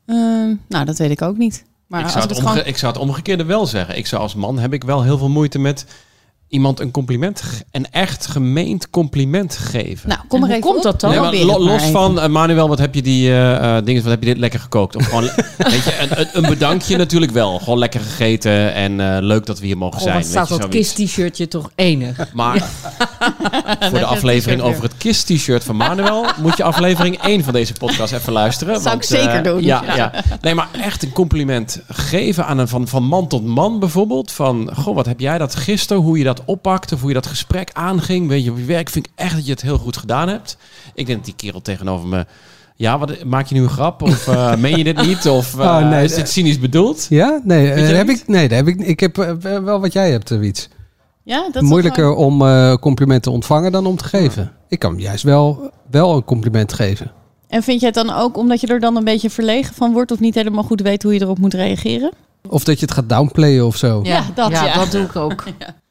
Speaker 6: Ehm, nou, dat weet ik ook niet. Maar
Speaker 2: ik,
Speaker 6: als
Speaker 2: zou
Speaker 6: ik
Speaker 2: het
Speaker 6: het
Speaker 2: omge-
Speaker 6: gewoon...
Speaker 2: ik zou het omgekeerde wel zeggen. Ik zou als man heb ik wel heel veel moeite met iemand een compliment, ge- een echt gemeend compliment geven.
Speaker 6: Nou, kom maar
Speaker 3: hoe
Speaker 6: even
Speaker 3: komt
Speaker 6: op.
Speaker 3: dat dan?
Speaker 2: Nee, maar
Speaker 6: Probeer
Speaker 2: lo-
Speaker 6: het maar
Speaker 2: los
Speaker 6: even.
Speaker 2: van, eh, Manuel, wat heb je die eh, eh, dingen, wat heb je dit lekker gekookt? Of gewoon, weet je, een, een- een bedankje natuurlijk wel. Gewoon lekker gegeten en eh, leuk dat we hier mogen
Speaker 3: Oh,
Speaker 2: zijn.
Speaker 3: wat
Speaker 2: weet
Speaker 3: staat
Speaker 2: je,
Speaker 3: dat
Speaker 2: zoiets.
Speaker 3: kist-t-shirtje toch enig.
Speaker 2: Maar [laughs] voor de
Speaker 6: het
Speaker 2: aflevering
Speaker 6: t-shirt
Speaker 2: over het KISS-t-shirt van Manuel... moet je aflevering
Speaker 6: [laughs]
Speaker 2: 1 van deze podcast even luisteren.
Speaker 6: Zou ik
Speaker 2: eh,
Speaker 6: zeker doen,
Speaker 2: Ja, ja.
Speaker 6: ja.
Speaker 2: Nee, maar echt een compliment geven aan een van, van man tot man bijvoorbeeld. Van, goh, wat heb jij dat gisteren? Hoe je dat oppakte, of hoe je dat gesprek aanging. Weet je, op je werk vind ik echt dat je het heel goed gedaan hebt. Ik denk dat die kerel tegenover me... Ja, wat, maak je nu een grap? Of eh meen je dit niet? Of eh,
Speaker 5: [laughs] Oh, nee,
Speaker 2: is dit cynisch bedoeld?
Speaker 5: Ja? Nee, eh,
Speaker 2: Vind jij
Speaker 5: heb
Speaker 2: niet?
Speaker 5: ik, nee daar heb ik, ik heb eh, wel wat jij hebt, eh, Wiets.
Speaker 6: Ja, dat is toch
Speaker 5: Moeilijker om eh, complimenten te ontvangen dan om te geven. Ik kan juist wel, wel een compliment geven.
Speaker 6: gewoon- En vind jij het dan ook omdat je er dan een beetje verlegen van wordt... of niet helemaal goed weet hoe je erop moet reageren?
Speaker 5: Of dat je het gaat downplayen of zo.
Speaker 6: Ja, dat, ja.
Speaker 3: dat doe ik ook.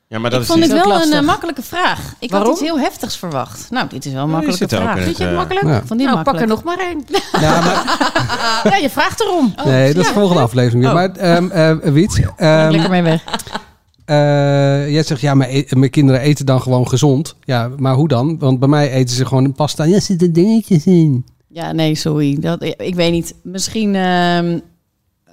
Speaker 2: Ja, maar dat
Speaker 6: ik vond
Speaker 2: niet-
Speaker 6: het
Speaker 3: ook
Speaker 6: wel
Speaker 3: lastig.
Speaker 6: een eh, makkelijke vraag. Ik
Speaker 3: Waarom?
Speaker 6: had iets heel heftigs verwacht. Nou, dit is wel een
Speaker 2: Ja, die
Speaker 6: makkelijke
Speaker 2: zit er ook
Speaker 6: vraag.
Speaker 2: in
Speaker 6: Vind je het
Speaker 2: het, eh,
Speaker 6: makkelijk?
Speaker 5: Ja.
Speaker 6: Ik vond die
Speaker 3: nou, pak er
Speaker 6: makkelijk.
Speaker 3: nog maar één.
Speaker 5: Ja, maar
Speaker 3: Ja, je vraagt
Speaker 5: [laughs]
Speaker 3: erom.
Speaker 6: Oh,
Speaker 5: nee, dat is de volgende aflevering weer.
Speaker 2: Oh.
Speaker 5: Maar ehm eh, Wiet,
Speaker 6: Ging ik
Speaker 5: ehm,
Speaker 6: Lekker mee weg.
Speaker 5: eh, jij zegt ja, maar e- mijn kinderen eten dan gewoon gezond. Ja, maar hoe dan? Want bij mij eten ze gewoon een pasta. Ja, zitten dingetjes in.
Speaker 6: Ja, nee, sorry. Dat, ik weet niet. Misschien ehm,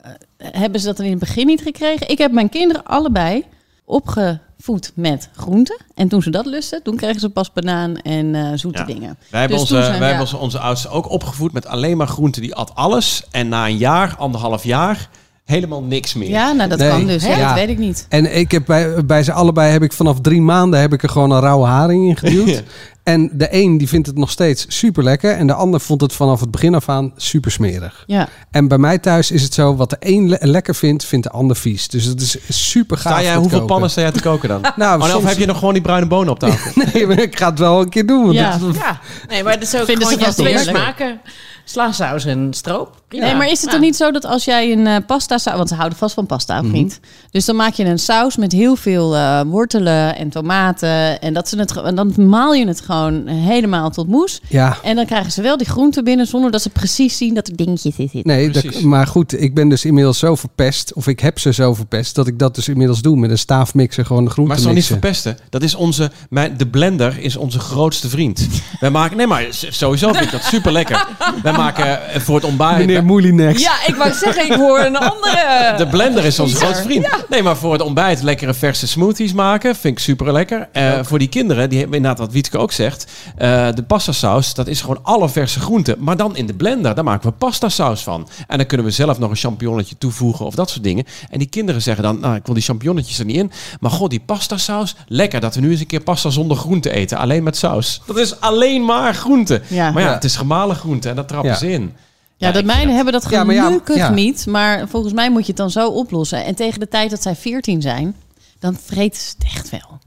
Speaker 6: eh, hebben ze dat er in het begin niet gekregen. Ik heb mijn kinderen allebei opgevoed met groenten. En toen ze dat lusten, toen kregen ze pas banaan en eh, zoete
Speaker 2: Ja.
Speaker 6: dingen.
Speaker 2: Wij hebben,
Speaker 6: Dus
Speaker 2: onze,
Speaker 6: toen
Speaker 2: wij
Speaker 6: zijn-
Speaker 2: hebben
Speaker 6: ja.
Speaker 2: onze, onze oudste ook opgevoed met alleen maar groenten. Die at alles. En na een jaar, anderhalf jaar, helemaal niks meer.
Speaker 6: Ja, nou dat
Speaker 5: Nee.
Speaker 6: kan dus. hè.
Speaker 5: Ja.
Speaker 6: Dat weet ik niet.
Speaker 5: En ik heb bij, bij ze allebei heb ik vanaf drie maanden heb ik er gewoon een rauwe haring in geduwd. En de een die vindt het nog steeds super lekker. En de ander vond het vanaf het begin af aan super smerig.
Speaker 6: Ja.
Speaker 5: En bij mij thuis is het zo, wat de een le- lekker vindt, vindt de ander vies. Dus dat is super gaaf.
Speaker 2: Sta jij,
Speaker 5: dat
Speaker 2: hoeveel
Speaker 5: koken.
Speaker 2: pannen sta jij te koken
Speaker 6: [laughs]
Speaker 2: dan?
Speaker 5: Nou,
Speaker 2: Oh, nee,
Speaker 5: soms-
Speaker 2: of heb je nog gewoon die bruine bonen op tafel?
Speaker 5: [laughs] Nee, maar ik ga het wel een keer doen. want
Speaker 6: Ja.
Speaker 5: dat-
Speaker 3: Ja, nee, maar dat is ook
Speaker 6: Vinden
Speaker 3: gewoon
Speaker 6: ze
Speaker 3: je
Speaker 6: vast
Speaker 3: twee
Speaker 6: lekker.
Speaker 3: smaken. Slaasaus en stroop. Prima.
Speaker 6: Nee, maar is het
Speaker 3: Ja.
Speaker 6: dan niet zo dat als jij een eh, pasta saus... Want ze houden vast van pasta,
Speaker 5: Mhm.
Speaker 6: of niet? Dus dan maak je een saus met heel veel eh, wortelen en tomaten. En, dat ze het, ge- en dan maal je het gewoon helemaal tot moes.
Speaker 5: ja.
Speaker 6: En dan krijgen ze wel die groenten binnen zonder dat ze precies zien dat er dingetjes in zitten.
Speaker 5: Nee,
Speaker 2: Precies.
Speaker 5: dat- maar goed, ik ben dus inmiddels zo verpest, of ik heb ze zo verpest, dat ik dat dus inmiddels doe met een staafmixer, gewoon de groenten
Speaker 2: Maar het zal niet
Speaker 5: mixen.
Speaker 2: verpesten. Dat is onze, mijn, de blender is onze grootste vriend. Wij maken, nee, maar s- sowieso vind ik dat super
Speaker 6: [laughs]
Speaker 2: lekker. Wij maken eh, voor het ontbijt.
Speaker 5: Meneer Moulinex.
Speaker 4: Ja, ik wou zeggen, ik hoor een andere.
Speaker 2: De blender is onze grootste vriend. Nee, maar voor het ontbijt lekkere verse smoothies maken. Vind ik super lekker. voor die kinderen, die hebben inderdaad wat Wietke ook zegt. eh, de pastasaus, dat is gewoon alle verse groenten. Maar dan in de blender, daar maken we pastasaus van. En dan kunnen we zelf nog een champignonnetje toevoegen of dat soort dingen. En die kinderen zeggen dan, nou ik wil die champignonnetjes er niet in. Maar god, die pastasaus, lekker dat we nu eens een keer pasta zonder groente eten. Alleen met saus. Dat is alleen maar groente.
Speaker 6: Ja.
Speaker 2: Maar ja,
Speaker 5: Ja.
Speaker 2: het is gemalen groente en dat trappen
Speaker 5: Ja.
Speaker 2: ze in.
Speaker 6: Ja,
Speaker 2: ik
Speaker 6: dat
Speaker 2: vind
Speaker 6: meiden
Speaker 2: dat-
Speaker 6: hebben dat
Speaker 5: Ja, maar ja,
Speaker 6: gelukkig
Speaker 5: ja.
Speaker 6: niet. Maar volgens mij moet je het dan zo oplossen. En tegen de tijd dat zij 14 zijn, dan vreten ze het echt wel.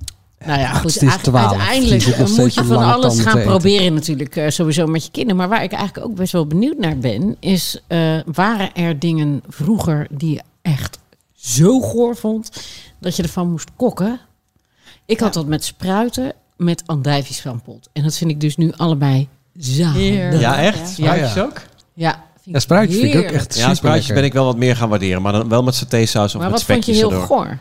Speaker 3: Nou ja,
Speaker 5: het
Speaker 3: goed.
Speaker 5: is
Speaker 3: eigenlijk-
Speaker 5: 12. Die zit
Speaker 3: Uiteindelijk eh,
Speaker 5: nog
Speaker 3: moet
Speaker 5: steeds
Speaker 3: je
Speaker 5: een
Speaker 3: van
Speaker 5: lange
Speaker 3: alles
Speaker 5: tanden
Speaker 3: gaan
Speaker 5: te eten.
Speaker 3: proberen natuurlijk eh, sowieso met je kinderen. Maar waar ik eigenlijk ook best wel benieuwd naar ben, is eh, waren er dingen vroeger die je echt zo goor vond dat je ervan moest kokken? Ik had dat met spruiten, met andijvies van pot. En dat vind ik dus nu allebei zalig.
Speaker 6: Heerlijk.
Speaker 2: Ja, echt?
Speaker 3: Ja.
Speaker 2: Spruitjes ook?
Speaker 3: Ja, vind
Speaker 5: Ja, spruitjes vind ik ook
Speaker 3: heerlijk.
Speaker 5: echt
Speaker 2: Ja,
Speaker 5: super
Speaker 2: spruitjes ben ik wel wat meer gaan waarderen. Maar dan wel met satésaus of
Speaker 3: Maar
Speaker 2: met
Speaker 3: wat vond je
Speaker 2: spekjes
Speaker 3: heel
Speaker 2: erdoor.
Speaker 3: goor?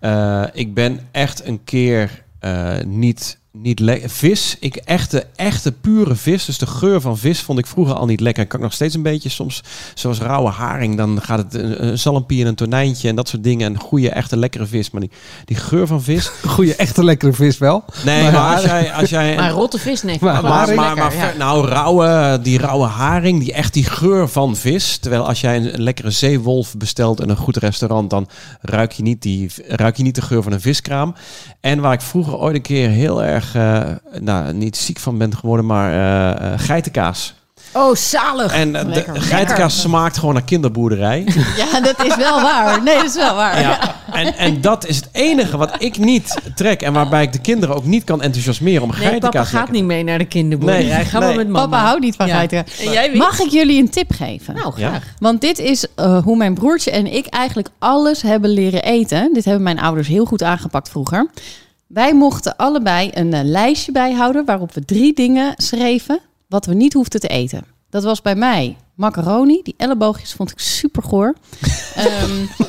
Speaker 2: Eh, ik ben echt een keer eh, niet, niet lekker... Vis, ik echte, echte pure vis. Dus de geur van vis vond ik vroeger al niet lekker. Kan ik nog steeds een beetje soms, zoals rauwe haring. Dan gaat het een, een zalmpie en een tonijntje en dat soort dingen. En goede, echte, lekkere vis. Maar die, die geur van
Speaker 3: [laughs]
Speaker 2: vis...
Speaker 5: Een goede, echte lekkere vis wel.
Speaker 2: Nee,
Speaker 5: Maar-
Speaker 2: maar als jij... Als jij
Speaker 3: Maar rotte vis, nee.
Speaker 5: Maar-
Speaker 3: vind ik
Speaker 2: maar,
Speaker 3: wel
Speaker 2: maar, maar,
Speaker 3: lekker, ja.
Speaker 2: ver- nou, rauwe, die rauwe haring, die echt die geur van vis. Terwijl als jij een, een lekkere zeewolf bestelt in een goed restaurant, dan ruik je, niet die, ruik je niet de geur van een viskraam. En waar ik vroeger ooit een keer heel erg, eh, nou, niet ziek van ben geworden, maar eh, eh, geitenkaas.
Speaker 3: Oh, zalig.
Speaker 2: En eh, de,
Speaker 6: Lekker.
Speaker 2: geitenkaas smaakt gewoon naar kinderboerderij.
Speaker 3: [laughs]
Speaker 6: Ja, dat is wel waar. Nee, dat is wel waar.
Speaker 2: Ja. En, en dat is het enige wat ik niet trek. En waarbij ik de kinderen ook niet kan enthousiasmeren om
Speaker 3: Nee,
Speaker 2: geitenkaas
Speaker 3: papa
Speaker 2: te
Speaker 3: gaat niet mee naar de kinderboerderij.
Speaker 2: Nee,
Speaker 3: Ga
Speaker 2: nee.
Speaker 3: maar met mama.
Speaker 6: Papa houdt niet van
Speaker 3: Ja.
Speaker 6: geiten.
Speaker 4: En jij, Wiet?
Speaker 6: Mag ik jullie een tip geven?
Speaker 3: Nou,
Speaker 2: Ja.
Speaker 3: graag.
Speaker 6: Want dit is eh, hoe mijn broertje en ik eigenlijk alles hebben leren eten. Dit hebben mijn ouders heel goed aangepakt vroeger. Wij mochten allebei een eh, lijstje bijhouden waarop we drie dingen schreven wat we niet hoefden te eten. Dat was bij mij macaroni. Die elleboogjes vond ik super goor.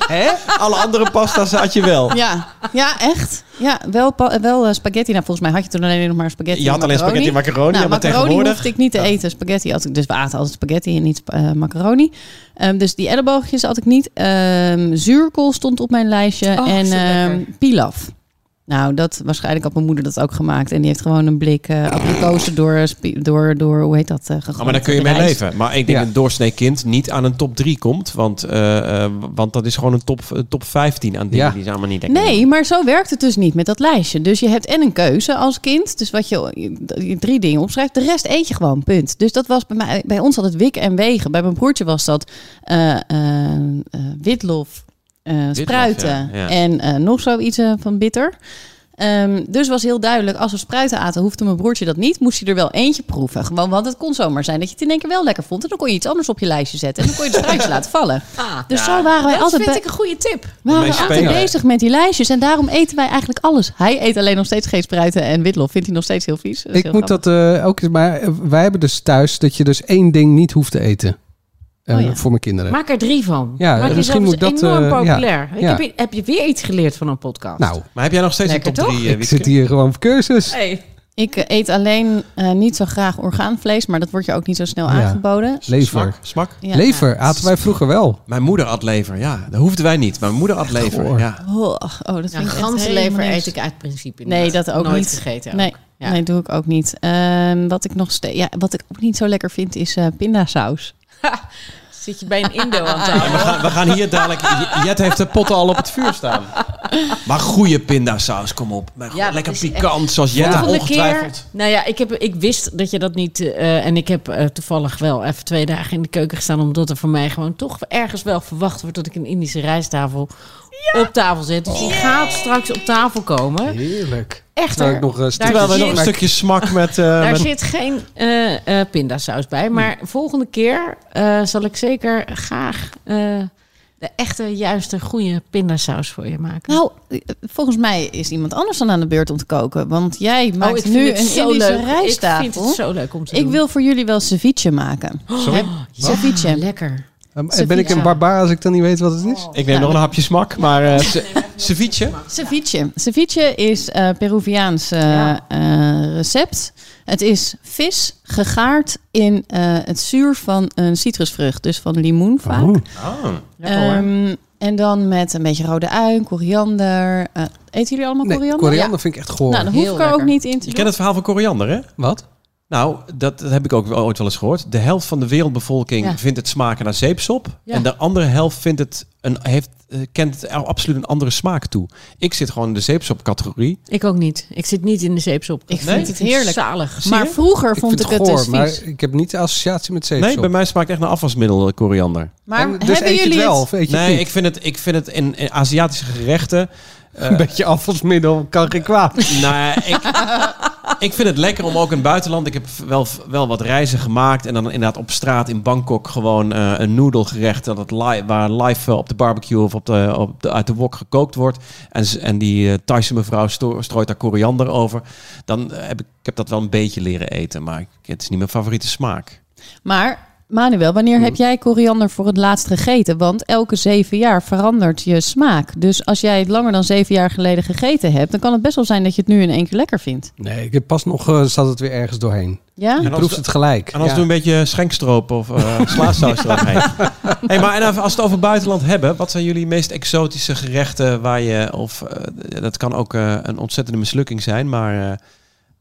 Speaker 2: Hè? Alle andere pasta's had je wel.
Speaker 6: ja. ja, echt. Ja, wel, pa- wel eh, spaghetti. Nou, volgens mij had je toen alleen nog maar spaghetti.
Speaker 2: Je had
Speaker 6: en
Speaker 2: alleen spaghetti en macaroni,
Speaker 6: Nou,
Speaker 2: maar
Speaker 6: macaroni
Speaker 2: tegenwoordig...
Speaker 6: hoefde ik niet te eten. Spaghetti had ik, dus we aten altijd spaghetti en niet spa- eh, macaroni. Ehm, dus die elleboogjes had ik niet. Ehm, zuurkool stond op mijn lijstje.
Speaker 3: Oh,
Speaker 6: en
Speaker 3: zo
Speaker 6: ehm,
Speaker 3: lekker.
Speaker 6: pilaf. Nou, dat waarschijnlijk had mijn moeder dat ook gemaakt. En die heeft gewoon een blik eh aprikozen door, spi- door, door, hoe heet dat, eh gegooid.
Speaker 2: Oh, maar daar kun je
Speaker 6: Rijst.
Speaker 2: mee leven. Maar ik denk
Speaker 5: Ja.
Speaker 2: een doorsnee kind niet aan een top 3 komt. Want, eh, eh, want dat is gewoon een top, een top 15 aan dingen
Speaker 5: Ja.
Speaker 2: die ze allemaal niet lekker
Speaker 6: Nee, maar zo werkt het dus niet met dat lijstje. Dus je hebt en een keuze als kind. Dus wat je, je- je drie dingen opschrijft. De rest eet je gewoon, punt. Dus dat was bij, mij, bij ons altijd wikken en wegen. Bij mijn broertje was dat eh, eh, eh, witlof, eh, spruiten
Speaker 2: ja, ja.
Speaker 6: en eh, nog zoiets eh, van bitter. Ehm, dus was heel duidelijk, als we spruiten aten, hoefde mijn broertje dat niet. Moest hij er wel eentje proeven. Gewoon, want het kon zomaar zijn dat je het in één keer wel lekker vond. En dan kon je iets anders op je lijstje zetten. En dan kon je de spruitjes laten vallen.
Speaker 3: Ah,
Speaker 6: Dus zo waren wij
Speaker 3: dat
Speaker 6: altijd
Speaker 3: vind
Speaker 6: bij-
Speaker 3: ik een goede tip.
Speaker 6: Nou, we waren
Speaker 2: Meest
Speaker 6: altijd
Speaker 2: spelen.
Speaker 6: bezig met die lijstjes en daarom eten wij eigenlijk alles. Hij eet alleen nog steeds geen spruiten en witlof. Vindt hij nog steeds heel vies. Dat is
Speaker 5: Ik
Speaker 6: heel
Speaker 5: moet
Speaker 6: grappig.
Speaker 5: dat eh, ook eens, maar eh, wij hebben dus thuis dat je dus één ding niet hoeft te eten. Eh,
Speaker 6: Oh ja.
Speaker 5: Voor mijn kinderen.
Speaker 3: Maak er drie van.
Speaker 5: Ja,
Speaker 3: Maak
Speaker 5: misschien
Speaker 3: jezelf
Speaker 5: moet
Speaker 3: eens
Speaker 5: dat,
Speaker 3: enorm
Speaker 5: eh, ja.
Speaker 3: populair. Ik
Speaker 5: Ja.
Speaker 3: heb, heb je weer iets geleerd van een podcast?
Speaker 5: nou,
Speaker 2: Maar heb jij nog steeds
Speaker 3: Lekker
Speaker 2: een top eh,
Speaker 3: toch?
Speaker 2: 3?
Speaker 5: ik zit hier gewoon op cursus.
Speaker 3: Hey.
Speaker 6: Ik eh, eet alleen eh, niet zo graag orgaanvlees, maar dat wordt je ook niet zo snel
Speaker 5: Ja.
Speaker 6: aangeboden.
Speaker 5: Lever.
Speaker 2: Smak, smak.
Speaker 6: Ja.
Speaker 5: Lever aten wij vroeger wel.
Speaker 2: Mijn moeder at lever, ja. Dat hoefden wij niet. maar Mijn moeder at lever,
Speaker 5: goor.
Speaker 2: ja.
Speaker 6: Oh, ach, oh, dat
Speaker 3: Ja,
Speaker 6: vind ik echt
Speaker 3: ganzenlever
Speaker 6: helemaal niks.
Speaker 3: eet ik uit principe
Speaker 6: Nee,
Speaker 3: niet.
Speaker 6: dat ook
Speaker 3: Nooit
Speaker 6: niet.
Speaker 3: gegeten. ook.
Speaker 6: Nee,
Speaker 3: Ja.
Speaker 6: nee, doe ik ook niet. Ehm, wat, ik nog steeds, ja, wat ik ook niet zo lekker vind is eh, pindasaus.
Speaker 3: Zit je bij een Indo
Speaker 2: En
Speaker 3: aan
Speaker 2: we,
Speaker 3: tafel?
Speaker 2: gaan, we gaan hier dadelijk... J- Jet heeft de potten al op het vuur staan. Maar goede pindasaus, kom op. Maar
Speaker 3: Ja, dat
Speaker 2: lekker
Speaker 3: is echt-
Speaker 2: pikant, zoals Jet
Speaker 3: Volgende
Speaker 2: ongetwijfeld...
Speaker 3: keer. Nou ja, ik, heb, ik wist dat je dat niet. eh, en ik heb eh, toevallig wel even twee dagen in de keuken gestaan. Omdat er voor mij gewoon toch ergens wel verwacht wordt dat ik een Indische rijsttafel op tafel zet. Dus die gaat straks op tafel komen.
Speaker 5: Heerlijk.
Speaker 3: Echt
Speaker 5: Terwijl
Speaker 3: waar.
Speaker 5: ik nog, eh,
Speaker 2: Terwijl we
Speaker 5: stukjes-
Speaker 3: zit-
Speaker 2: Nou, nog een stukje smak met... eh,
Speaker 3: Daar
Speaker 2: met-
Speaker 3: zit geen eh, eh, pindasaus bij.
Speaker 5: Hm.
Speaker 3: Maar volgende keer eh, zal ik zeker graag eh, de echte, juiste, goede pindasaus voor je maken.
Speaker 6: Nou, eh, volgens mij is iemand anders dan aan de beurt om te koken. Want jij
Speaker 3: Oh,
Speaker 6: maakt
Speaker 3: ik vind
Speaker 6: nu
Speaker 3: het
Speaker 6: een
Speaker 3: zo
Speaker 6: Indische
Speaker 3: leuk.
Speaker 6: rijsttafel.
Speaker 3: Ik vind het zo leuk om te
Speaker 6: Ik
Speaker 3: doen.
Speaker 6: wil voor jullie wel ceviche maken.
Speaker 2: Sorry?
Speaker 6: Ceviche.
Speaker 3: Ja, lekker.
Speaker 5: Eh, Ben ik een barbaar als ik dan niet weet wat het is?
Speaker 2: Ik neem nog een hapje smak, maar... eh, ce- ceviche?
Speaker 6: Ceviche. Ceviche is eh Peruviaans eh,
Speaker 3: Ja.
Speaker 6: eh, recept. Het is vis gegaard in eh, het zuur van een citrusvrucht. Dus van limoen vaak.
Speaker 5: Oh.
Speaker 2: Oh.
Speaker 6: Ehm, en dan met een beetje rode ui, koriander. Eh, eten jullie allemaal
Speaker 5: Nee,
Speaker 6: koriander?
Speaker 5: koriander vind ik echt goor.
Speaker 6: Nou, dan hoef
Speaker 3: Heel
Speaker 6: ik er ook
Speaker 3: lekker.
Speaker 6: niet in te
Speaker 2: Je
Speaker 6: doen.
Speaker 2: kent het verhaal van koriander, hè?
Speaker 5: Wat?
Speaker 2: Nou, dat, dat heb ik ook wel ooit wel eens gehoord. De helft van de wereldbevolking
Speaker 3: Ja.
Speaker 2: vindt het smaken naar zeepsop.
Speaker 3: Ja.
Speaker 2: En de andere helft vindt het een, heeft, eh, kent het al- absoluut een andere smaak toe. Ik zit gewoon in de zeepsopcategorie.
Speaker 3: Ik ook niet. Ik zit niet in de zeepsop.
Speaker 6: Ik vind het heerlijk.
Speaker 3: Zalig.
Speaker 2: Zie
Speaker 6: Maar
Speaker 2: je?
Speaker 6: vroeger
Speaker 5: Ik
Speaker 6: vond
Speaker 5: vind het
Speaker 6: ik het,
Speaker 5: goor,
Speaker 6: dus vies.
Speaker 5: maar ik heb niet de associatie met zeepsop.
Speaker 2: Nee, bij mij smaakt echt naar afwasmiddel eh, koriander.
Speaker 6: Maar
Speaker 5: En dus
Speaker 6: hebben
Speaker 5: eet je het
Speaker 6: jullie
Speaker 5: wel
Speaker 6: het?
Speaker 5: of eet je het
Speaker 2: Nee,
Speaker 5: niet?
Speaker 2: ik vind het, ik vind het in, in Aziatische gerechten. eh,
Speaker 5: [laughs] Een beetje afvalsmiddel kan geen kwaad.
Speaker 2: nou, ik, ik vind het lekker om ook in het buitenland. Ik heb wel, wel wat reizen gemaakt. En dan inderdaad op straat in Bangkok gewoon eh, een noedelgerecht. Dat het li- waar live eh, op de barbecue of op de, op de, uit de wok gekookt wordt. En, ze- en die eh Thaise mevrouw sto- strooit daar koriander over. Dan eh, heb ik, ik heb dat wel een beetje leren eten. Maar ik- het is niet mijn favoriete smaak.
Speaker 6: Maar Manuel, wanneer heb jij koriander voor het laatst gegeten? Want elke zeven jaar verandert je smaak. Dus als jij het langer dan zeven jaar geleden gegeten hebt, dan kan het best wel zijn dat je het nu in één keer lekker vindt.
Speaker 5: Nee, ik heb pas nog eh, zat het weer ergens doorheen.
Speaker 6: Ja?
Speaker 5: Je
Speaker 2: als
Speaker 5: proeft
Speaker 2: de-
Speaker 5: het gelijk.
Speaker 2: En als
Speaker 5: Ja.
Speaker 2: we een beetje schenkstroop of eh slaasaus eroverheen. Hey, maar en als we het over buitenland hebben, wat zijn jullie meest exotische gerechten waar je, of eh, dat kan ook eh, een ontzettende mislukking zijn, maar... eh,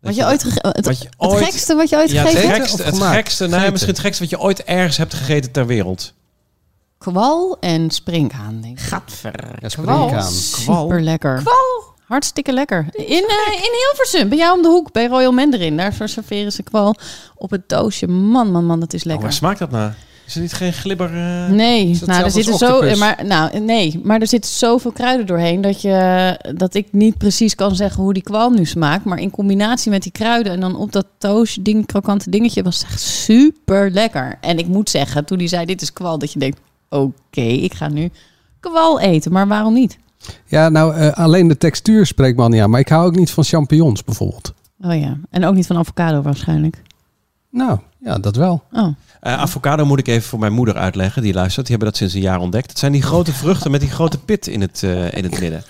Speaker 2: dat
Speaker 6: Wat je ooit gege- het,
Speaker 2: wat je
Speaker 6: het
Speaker 2: ooit-
Speaker 6: gekste wat je ooit
Speaker 2: ja, het
Speaker 6: gegeten
Speaker 5: zeker. Gegeten
Speaker 6: hebt?
Speaker 2: gekste,
Speaker 5: of
Speaker 2: het
Speaker 5: gemaakt?
Speaker 2: gekste, nee,
Speaker 5: Gegeten.
Speaker 2: misschien het gekste wat je ooit ergens hebt gegeten ter wereld. Oh,
Speaker 6: Kwal en springhaan, denk ik.
Speaker 3: Gadver.
Speaker 5: Ja, springkaan.
Speaker 6: Super lekker. Kwal? Hartstikke lekker. In, eh, in Hilversum, bij jou om de hoek, bij Royal Mandarin. Daar serveren ze kwal op het doosje. Man, man, man, dat is
Speaker 2: Oh,
Speaker 6: lekker.
Speaker 2: waar smaakt dat naar? Is er niet geen glibber? eh?
Speaker 5: dat
Speaker 6: Nee, nou, er
Speaker 5: hetzelfde als
Speaker 6: zitten zo,
Speaker 5: octopus?
Speaker 6: maar, nou, nee, maar er zitten zoveel kruiden doorheen dat, je, dat ik niet precies kan zeggen hoe die kwalm nu smaakt. Maar in combinatie met die kruiden en dan op dat toast, ding, krokante dingetje, was echt super lekker. En ik moet zeggen, toen die zei: Dit is kwal, dat je denkt: Oké, ik ga nu kwal eten, maar waarom niet?
Speaker 5: Ja, nou, eh, alleen de textuur spreekt me al niet aan. Maar ik hou ook niet van champignons bijvoorbeeld.
Speaker 6: Oh ja, en ook niet van avocado waarschijnlijk.
Speaker 5: Nou, ja, dat wel.
Speaker 6: Oh.
Speaker 2: Eh, avocado moet ik even voor mijn moeder uitleggen, die luistert. Die hebben dat sinds een jaar ontdekt. Het zijn die grote vruchten met die grote pit in het, eh, in het midden.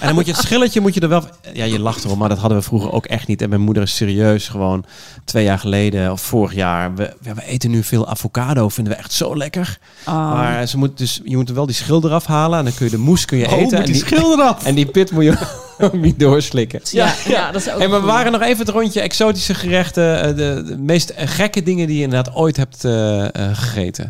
Speaker 2: en dan moet je het schilletje moet je er wel... Ja, je lacht erom, maar dat hadden we vroeger ook echt niet. En mijn moeder is serieus gewoon twee jaar geleden of vorig jaar. We, we, we eten nu veel avocado, vinden we echt zo lekker.
Speaker 5: Oh.
Speaker 2: Maar ze moet dus, je moet er wel die schil eraf halen. En dan kun je de moes kun je
Speaker 5: Oh,
Speaker 2: eten.
Speaker 5: met
Speaker 2: en,
Speaker 5: die schil eraf.
Speaker 2: en die pit moet je [laughs] ook niet doorslikken.
Speaker 3: Ja, ja, dat is ook
Speaker 2: Hey, maar we
Speaker 3: goed.
Speaker 2: waren nog even het rondje exotische gerechten. eh, De, de meest gekke dingen die je inderdaad ooit hebt eh, eh, gegeten.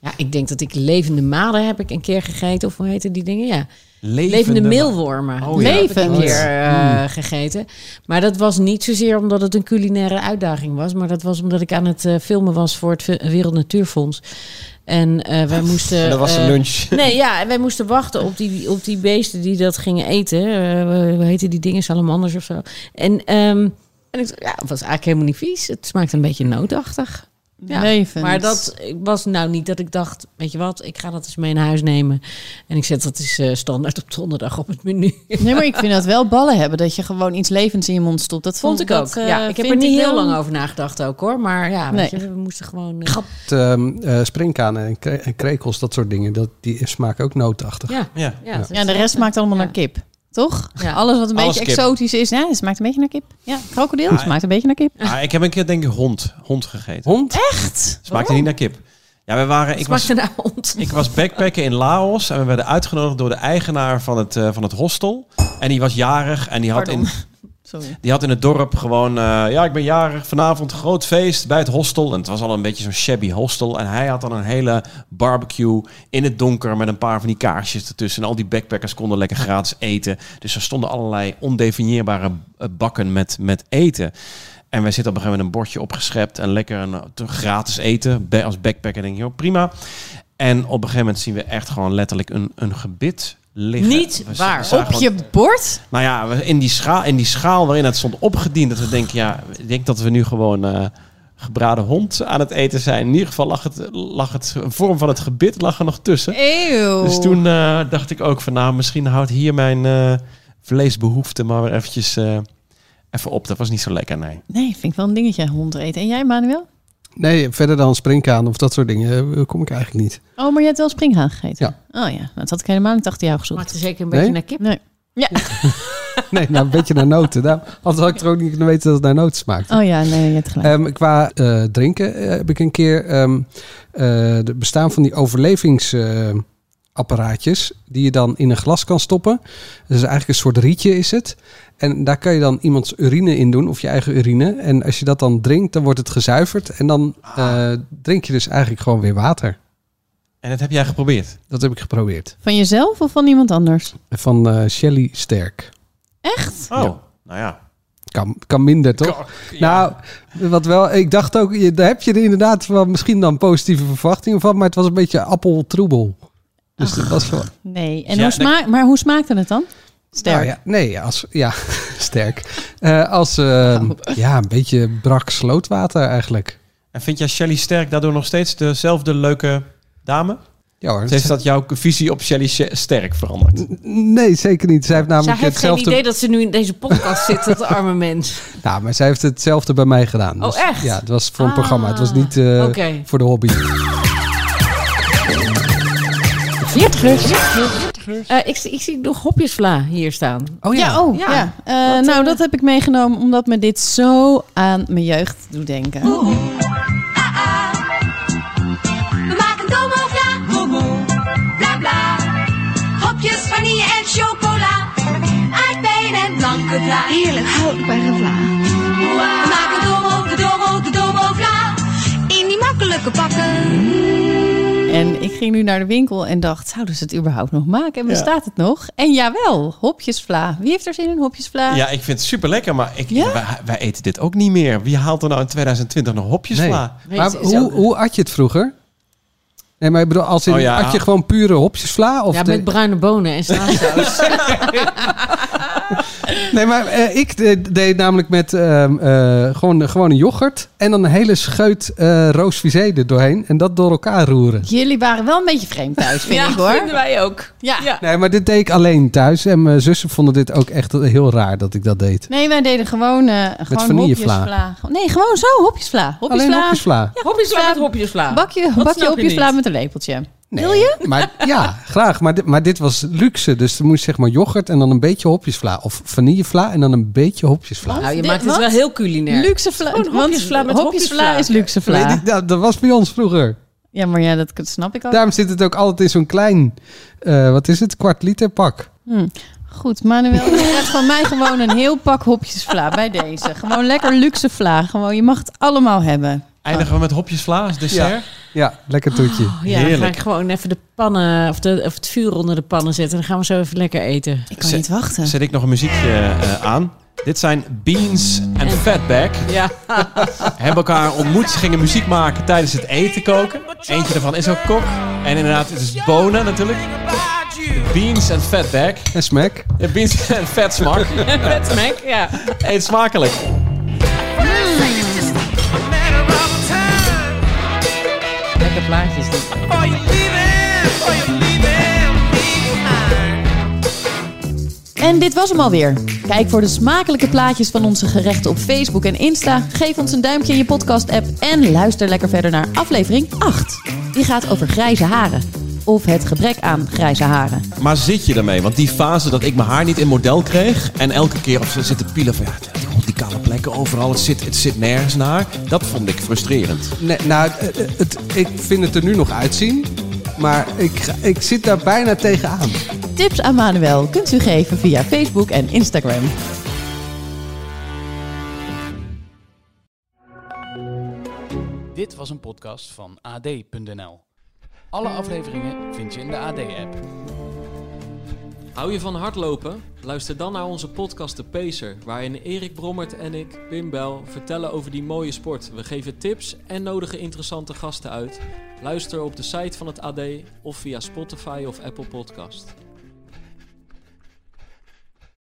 Speaker 3: Ja, ik denk dat ik levende maden heb ik een keer gegeten. Of hoe heten die dingen? Ja. Levende, meelwormen.
Speaker 2: Oh, ja. Hmm.
Speaker 3: Die heb ik
Speaker 6: Levend.
Speaker 3: Een keer eh, gegeten. Maar dat was niet zozeer omdat het een culinaire uitdaging was. Maar dat was omdat ik aan het eh, filmen was voor het Ve- Wereld Natuurfonds. En eh,
Speaker 2: [laughs]
Speaker 3: wij moesten...
Speaker 2: dat was
Speaker 3: eh,
Speaker 2: een lunch.
Speaker 3: [laughs] Nee, ja, en wij moesten wachten op die, op die beesten die dat gingen eten. Eh, hoe heten die dingen? Salamanders of zo. En, ehm, en ik, ja, het was eigenlijk helemaal niet vies. Het smaakte een beetje noodachtig.
Speaker 6: Oh,
Speaker 3: Ja,
Speaker 6: Levend.
Speaker 3: Maar dat was nou niet dat ik dacht, weet je wat, ik ga dat eens mee naar huis nemen. En ik zet dat eens eh, standaard op donderdag op het menu.
Speaker 6: Nee, maar ik vind dat wel ballen hebben. Dat je gewoon iets levends in je mond stopt. Dat
Speaker 3: Vond ik
Speaker 6: dat,
Speaker 3: ook.
Speaker 6: eh,
Speaker 3: ja, ik heb er
Speaker 6: vind
Speaker 3: niet heel
Speaker 6: wel-
Speaker 3: lang over nagedacht ook hoor. Maar ja, weet
Speaker 6: Nee.
Speaker 3: je, we moesten gewoon... eh,
Speaker 5: Het, ehm, eh, springkanen en, kre- en krekels, dat soort dingen, dat, die smaken ook noodachtig.
Speaker 3: ja,
Speaker 2: Ja.
Speaker 3: ja, dat is- eh,
Speaker 6: Ja, de rest smaakt allemaal
Speaker 3: Ja.
Speaker 6: naar kip. Toch?
Speaker 3: Ja.
Speaker 6: Alles wat een
Speaker 2: Alles
Speaker 6: beetje
Speaker 2: kip.
Speaker 6: exotisch is. Ja, het smaakt een beetje naar kip. Ja, krokodil
Speaker 2: Ah,
Speaker 6: smaakt een beetje naar kip.
Speaker 2: Ah, ik heb een keer denk ik hond, hond gegeten.
Speaker 5: Hond?
Speaker 6: Echt?
Speaker 2: Smaakte niet naar kip. Ja, we waren, ik,
Speaker 3: Het
Speaker 2: was,
Speaker 3: smaakte naar hond.
Speaker 2: ik was backpacken in Laos en we werden uitgenodigd door de eigenaar van het, eh, van het hostel. En die was jarig en die had in,
Speaker 6: Pardon. Sorry.
Speaker 2: Die had in het dorp gewoon, eh, ja, ik ben jarig, vanavond groot feest bij het hostel. En het was al een beetje zo'n shabby hostel. En hij had dan een hele barbecue in het donker met een paar van die kaarsjes ertussen. En al die backpackers konden lekker gratis eten. Dus er stonden allerlei ondefinieerbare eh, bakken met, met eten. En wij zitten op een gegeven moment een bordje opgeschept en lekker een, eh, gratis eten. Bij- Als backpacker denk je, joh, prima. En op een gegeven moment zien we echt gewoon letterlijk een, een gebit liggen.
Speaker 3: Niet
Speaker 2: We z-
Speaker 3: waar.
Speaker 2: zagen
Speaker 6: Op
Speaker 2: gewoon-
Speaker 6: je bord?
Speaker 2: nou ja, we- in die, schaal, in die schaal waarin het stond opgediend, dat we denken, ja, ik denk dat we nu gewoon eh, gebraden hond aan het eten zijn. In ieder geval lag het, lag het een vorm van het gebit lag er nog tussen.
Speaker 6: Eeuw.
Speaker 2: Dus toen eh, dacht ik ook van, nou, misschien houdt hier mijn eh, vleesbehoefte maar weer eventjes eh, even op. Dat was niet zo lekker, nee.
Speaker 6: Nee, vind ik wel een dingetje, hond eten. En jij, Manuel?
Speaker 5: Nee, verder dan springkanen of dat soort dingen eh, kom ik eigenlijk niet.
Speaker 6: Oh, maar jij hebt wel springhaan gegeten? Oh ja, dat had ik helemaal niet achter jou
Speaker 3: Het
Speaker 6: gezocht.
Speaker 3: smaakte zeker een beetje
Speaker 5: Nee?
Speaker 3: naar kip.
Speaker 6: Nee.
Speaker 5: Nee, nou een beetje naar noten. Nou, anders had ik er ook niet kunnen weten dat het naar noten smaakt.
Speaker 6: Oh ja, nee, je hebt gelijk.
Speaker 5: Ehm, qua eh, drinken eh, heb ik een keer ehm eh, het bestaan van die overlevingsapparaatjes. eh, die je dan in een glas kan stoppen. Dus eigenlijk een soort rietje is het. En daar kan je dan iemands urine in doen, of je eigen urine. En als je dat dan drinkt, dan wordt het gezuiverd. En dan eh, drink je dus eigenlijk gewoon weer water.
Speaker 2: En dat heb jij geprobeerd.
Speaker 5: Dat heb ik geprobeerd.
Speaker 6: Van jezelf of van iemand anders?
Speaker 5: Van eh Shelly Sterk.
Speaker 6: Echt?
Speaker 2: Oh,
Speaker 5: Ja.
Speaker 2: nou ja.
Speaker 5: Kan, kan minder, toch? Nou, wat wel, ik dacht ook, je, daar heb je er inderdaad wel misschien dan positieve verwachtingen van, maar het was een beetje appeltroebel. Dus dat was wel.
Speaker 6: Nee. En
Speaker 2: Ja,
Speaker 6: hoe
Speaker 2: dat-
Speaker 6: smaak, maar hoe smaakte het dan? Sterk.
Speaker 5: Nou ja, nee, als, ja, [laughs] sterk. Eh, als,
Speaker 3: [laughs]
Speaker 5: eh, ja, een beetje brak slootwater eigenlijk.
Speaker 2: En vind jij Shelly Sterk daardoor nog steeds dezelfde leuke dame?
Speaker 5: Ja hoor.
Speaker 2: Of heeft dat jouw visie op Shelly Sterk veranderd?
Speaker 5: Nee, zeker niet. Zij heeft
Speaker 3: Zij
Speaker 5: namelijk
Speaker 3: heeft geen
Speaker 5: hetzelfde.
Speaker 3: idee dat ze nu in deze podcast zit, dat arme mens.
Speaker 5: Nou, maar zij heeft hetzelfde bij mij gedaan. Dus
Speaker 3: Oh, echt?
Speaker 5: Ja, het was voor een
Speaker 3: Ah,
Speaker 5: programma. Het was niet eh,
Speaker 3: oké.
Speaker 5: voor de hobby.
Speaker 3: Veertigers. Eh, ik, zie- ik zie nog hopjesvla hier staan.
Speaker 5: Oh
Speaker 6: Ja, oh, ja.
Speaker 3: Ja.
Speaker 6: Eh,
Speaker 3: Wat,
Speaker 6: nou,
Speaker 3: eh,
Speaker 6: dat heb ik meegenomen omdat me dit zo aan mijn jeugd doet denken.
Speaker 7: We maken domo vla. Bla bla. Hopjes vanille en chocola. Aardbeien en blanke vla. Heerlijk houdbare vla. We maken domo, de domo, de domo vla. In die makkelijke pakken.
Speaker 6: En ik ging nu naar de winkel en dacht, zouden ze het überhaupt nog maken? En
Speaker 2: Ja.
Speaker 6: bestaat het nog? En jawel, hopjesvla. Wie heeft er zin in hopjesvla?
Speaker 2: Ja, ik vind het super lekker, maar ik,
Speaker 6: Ja?
Speaker 2: wij, wij eten dit ook niet meer. Wie haalt er nou in 2020 nog hopjes
Speaker 5: Nee.
Speaker 2: sla?
Speaker 3: Nee,
Speaker 5: maar
Speaker 3: ze- ze-
Speaker 5: hoe, hoe at je het vroeger? Nee, maar ik bedoel, als in,
Speaker 2: Oh ja.
Speaker 5: at je gewoon pure hopjesvla? Of
Speaker 3: ja, [laughs]
Speaker 5: de-
Speaker 3: met bruine bonen en slaatsaus.
Speaker 5: Nee, maar eh, ik de- deed namelijk met ehm, eh, gewoon, gewoon een yoghurt. En dan een hele scheut eh roosvisé er doorheen. En dat door elkaar roeren.
Speaker 6: Jullie waren wel een beetje vreemd thuis, vind
Speaker 8: [laughs] ja,
Speaker 6: ik hoor.
Speaker 8: vinden wij ook.
Speaker 6: Ja.
Speaker 8: Ja.
Speaker 5: Nee, maar dit deed ik alleen thuis. En mijn zussen vonden dit ook echt heel raar dat ik dat deed.
Speaker 6: Nee, wij deden gewoon, eh gewoon
Speaker 5: vanillevla.
Speaker 6: hopjesvla. Nee, gewoon zo, hopjesvla.
Speaker 5: alleen
Speaker 6: Hopjesvla.
Speaker 5: hopjesvla.
Speaker 8: Hopjesla met hopjesla.
Speaker 6: Bakje,
Speaker 8: Dat
Speaker 6: bakje
Speaker 8: snap je
Speaker 6: hopjesvla
Speaker 8: niet.
Speaker 6: met een lepeltje.
Speaker 5: Nee, Maar, ja, graag. Maar dit, maar dit was luxe. Dus er moest zeg maar yoghurt en dan een beetje hopjesvla. Of vanillevla en dan een beetje hopjesvla.
Speaker 8: Nou, je
Speaker 6: Dit-
Speaker 8: maakt het
Speaker 6: wat?
Speaker 8: wel heel culinair.
Speaker 6: Luxe vla.
Speaker 8: Gewoon
Speaker 6: want
Speaker 8: hopjesvla met hopjesvla.
Speaker 6: is luxe
Speaker 5: Weet
Speaker 6: vla.
Speaker 5: ik, nou, dat was bij ons vroeger.
Speaker 6: Ja, maar ja, dat snap ik al.
Speaker 5: Daarom zit het ook altijd in zo'n klein, eh, wat is het, kwart liter pak.
Speaker 6: Goed, Manuel, je krijgt van mij gewoon een heel pak hopjesvla bij deze. Gewoon lekker luxe vla. Gewoon, je mag het allemaal hebben.
Speaker 2: Eindigen we met hopjes vla als dessert?
Speaker 5: Ja, lekker toetje.
Speaker 8: Oh ja, dan ga
Speaker 2: Heerlijk.
Speaker 8: ik gewoon even de pannen of, de, of het vuur onder de pannen zetten. Dan gaan we zo even lekker eten.
Speaker 6: Ik
Speaker 2: kan
Speaker 6: kan
Speaker 2: Zet- niet
Speaker 6: niet wachten.
Speaker 2: Zet ik nog een muziekje eh, aan. Dit zijn Beans en Fatback.
Speaker 8: Ja.
Speaker 2: [laughs] Hebben elkaar ontmoet, ze gingen muziek maken tijdens het eten koken. Eentje daarvan is ook kok. En inderdaad, het is Bona natuurlijk. Beans en Fatback.
Speaker 5: En smack.
Speaker 2: Eh, Beans [laughs] en Fat Smak.
Speaker 8: Vet smaak, ja.
Speaker 2: Eet smakelijk.
Speaker 8: Lekker plaatjes.
Speaker 6: En dit was hem alweer. Kijk voor de smakelijke plaatjes van onze gerechten op Facebook en Insta. Geef ons een duimpje in je podcast-app. En luister lekker verder naar aflevering 8. Die gaat over grijze haren. Of het gebrek aan grijze haren.
Speaker 2: Maar zit je daarmee? Want die fase dat ik mijn haar niet in model kreeg en elke keer of ze zitten pielen van ja, god, die kale plekken overal, het zit, het zit nergens naar. Dat vond ik frustrerend.
Speaker 5: Nee, nou, het, het- ik vind het er nu nog uitzien. Maar ik, ga- ik zit daar bijna tegenaan.
Speaker 6: Tips aan Manuel kunt u geven via Facebook en Instagram.
Speaker 1: [laughs] Dit was een podcast van AD.nl. Alle afleveringen vind je in de AD-app.
Speaker 9: Hou je van hardlopen? Luister dan naar onze podcast De Pacer, waarin Erik Brommert en ik, Pim Bel, vertellen over die mooie sport. We geven tips en nodigen interessante gasten uit. Luister op de site van het AD of via Spotify of Apple Podcast.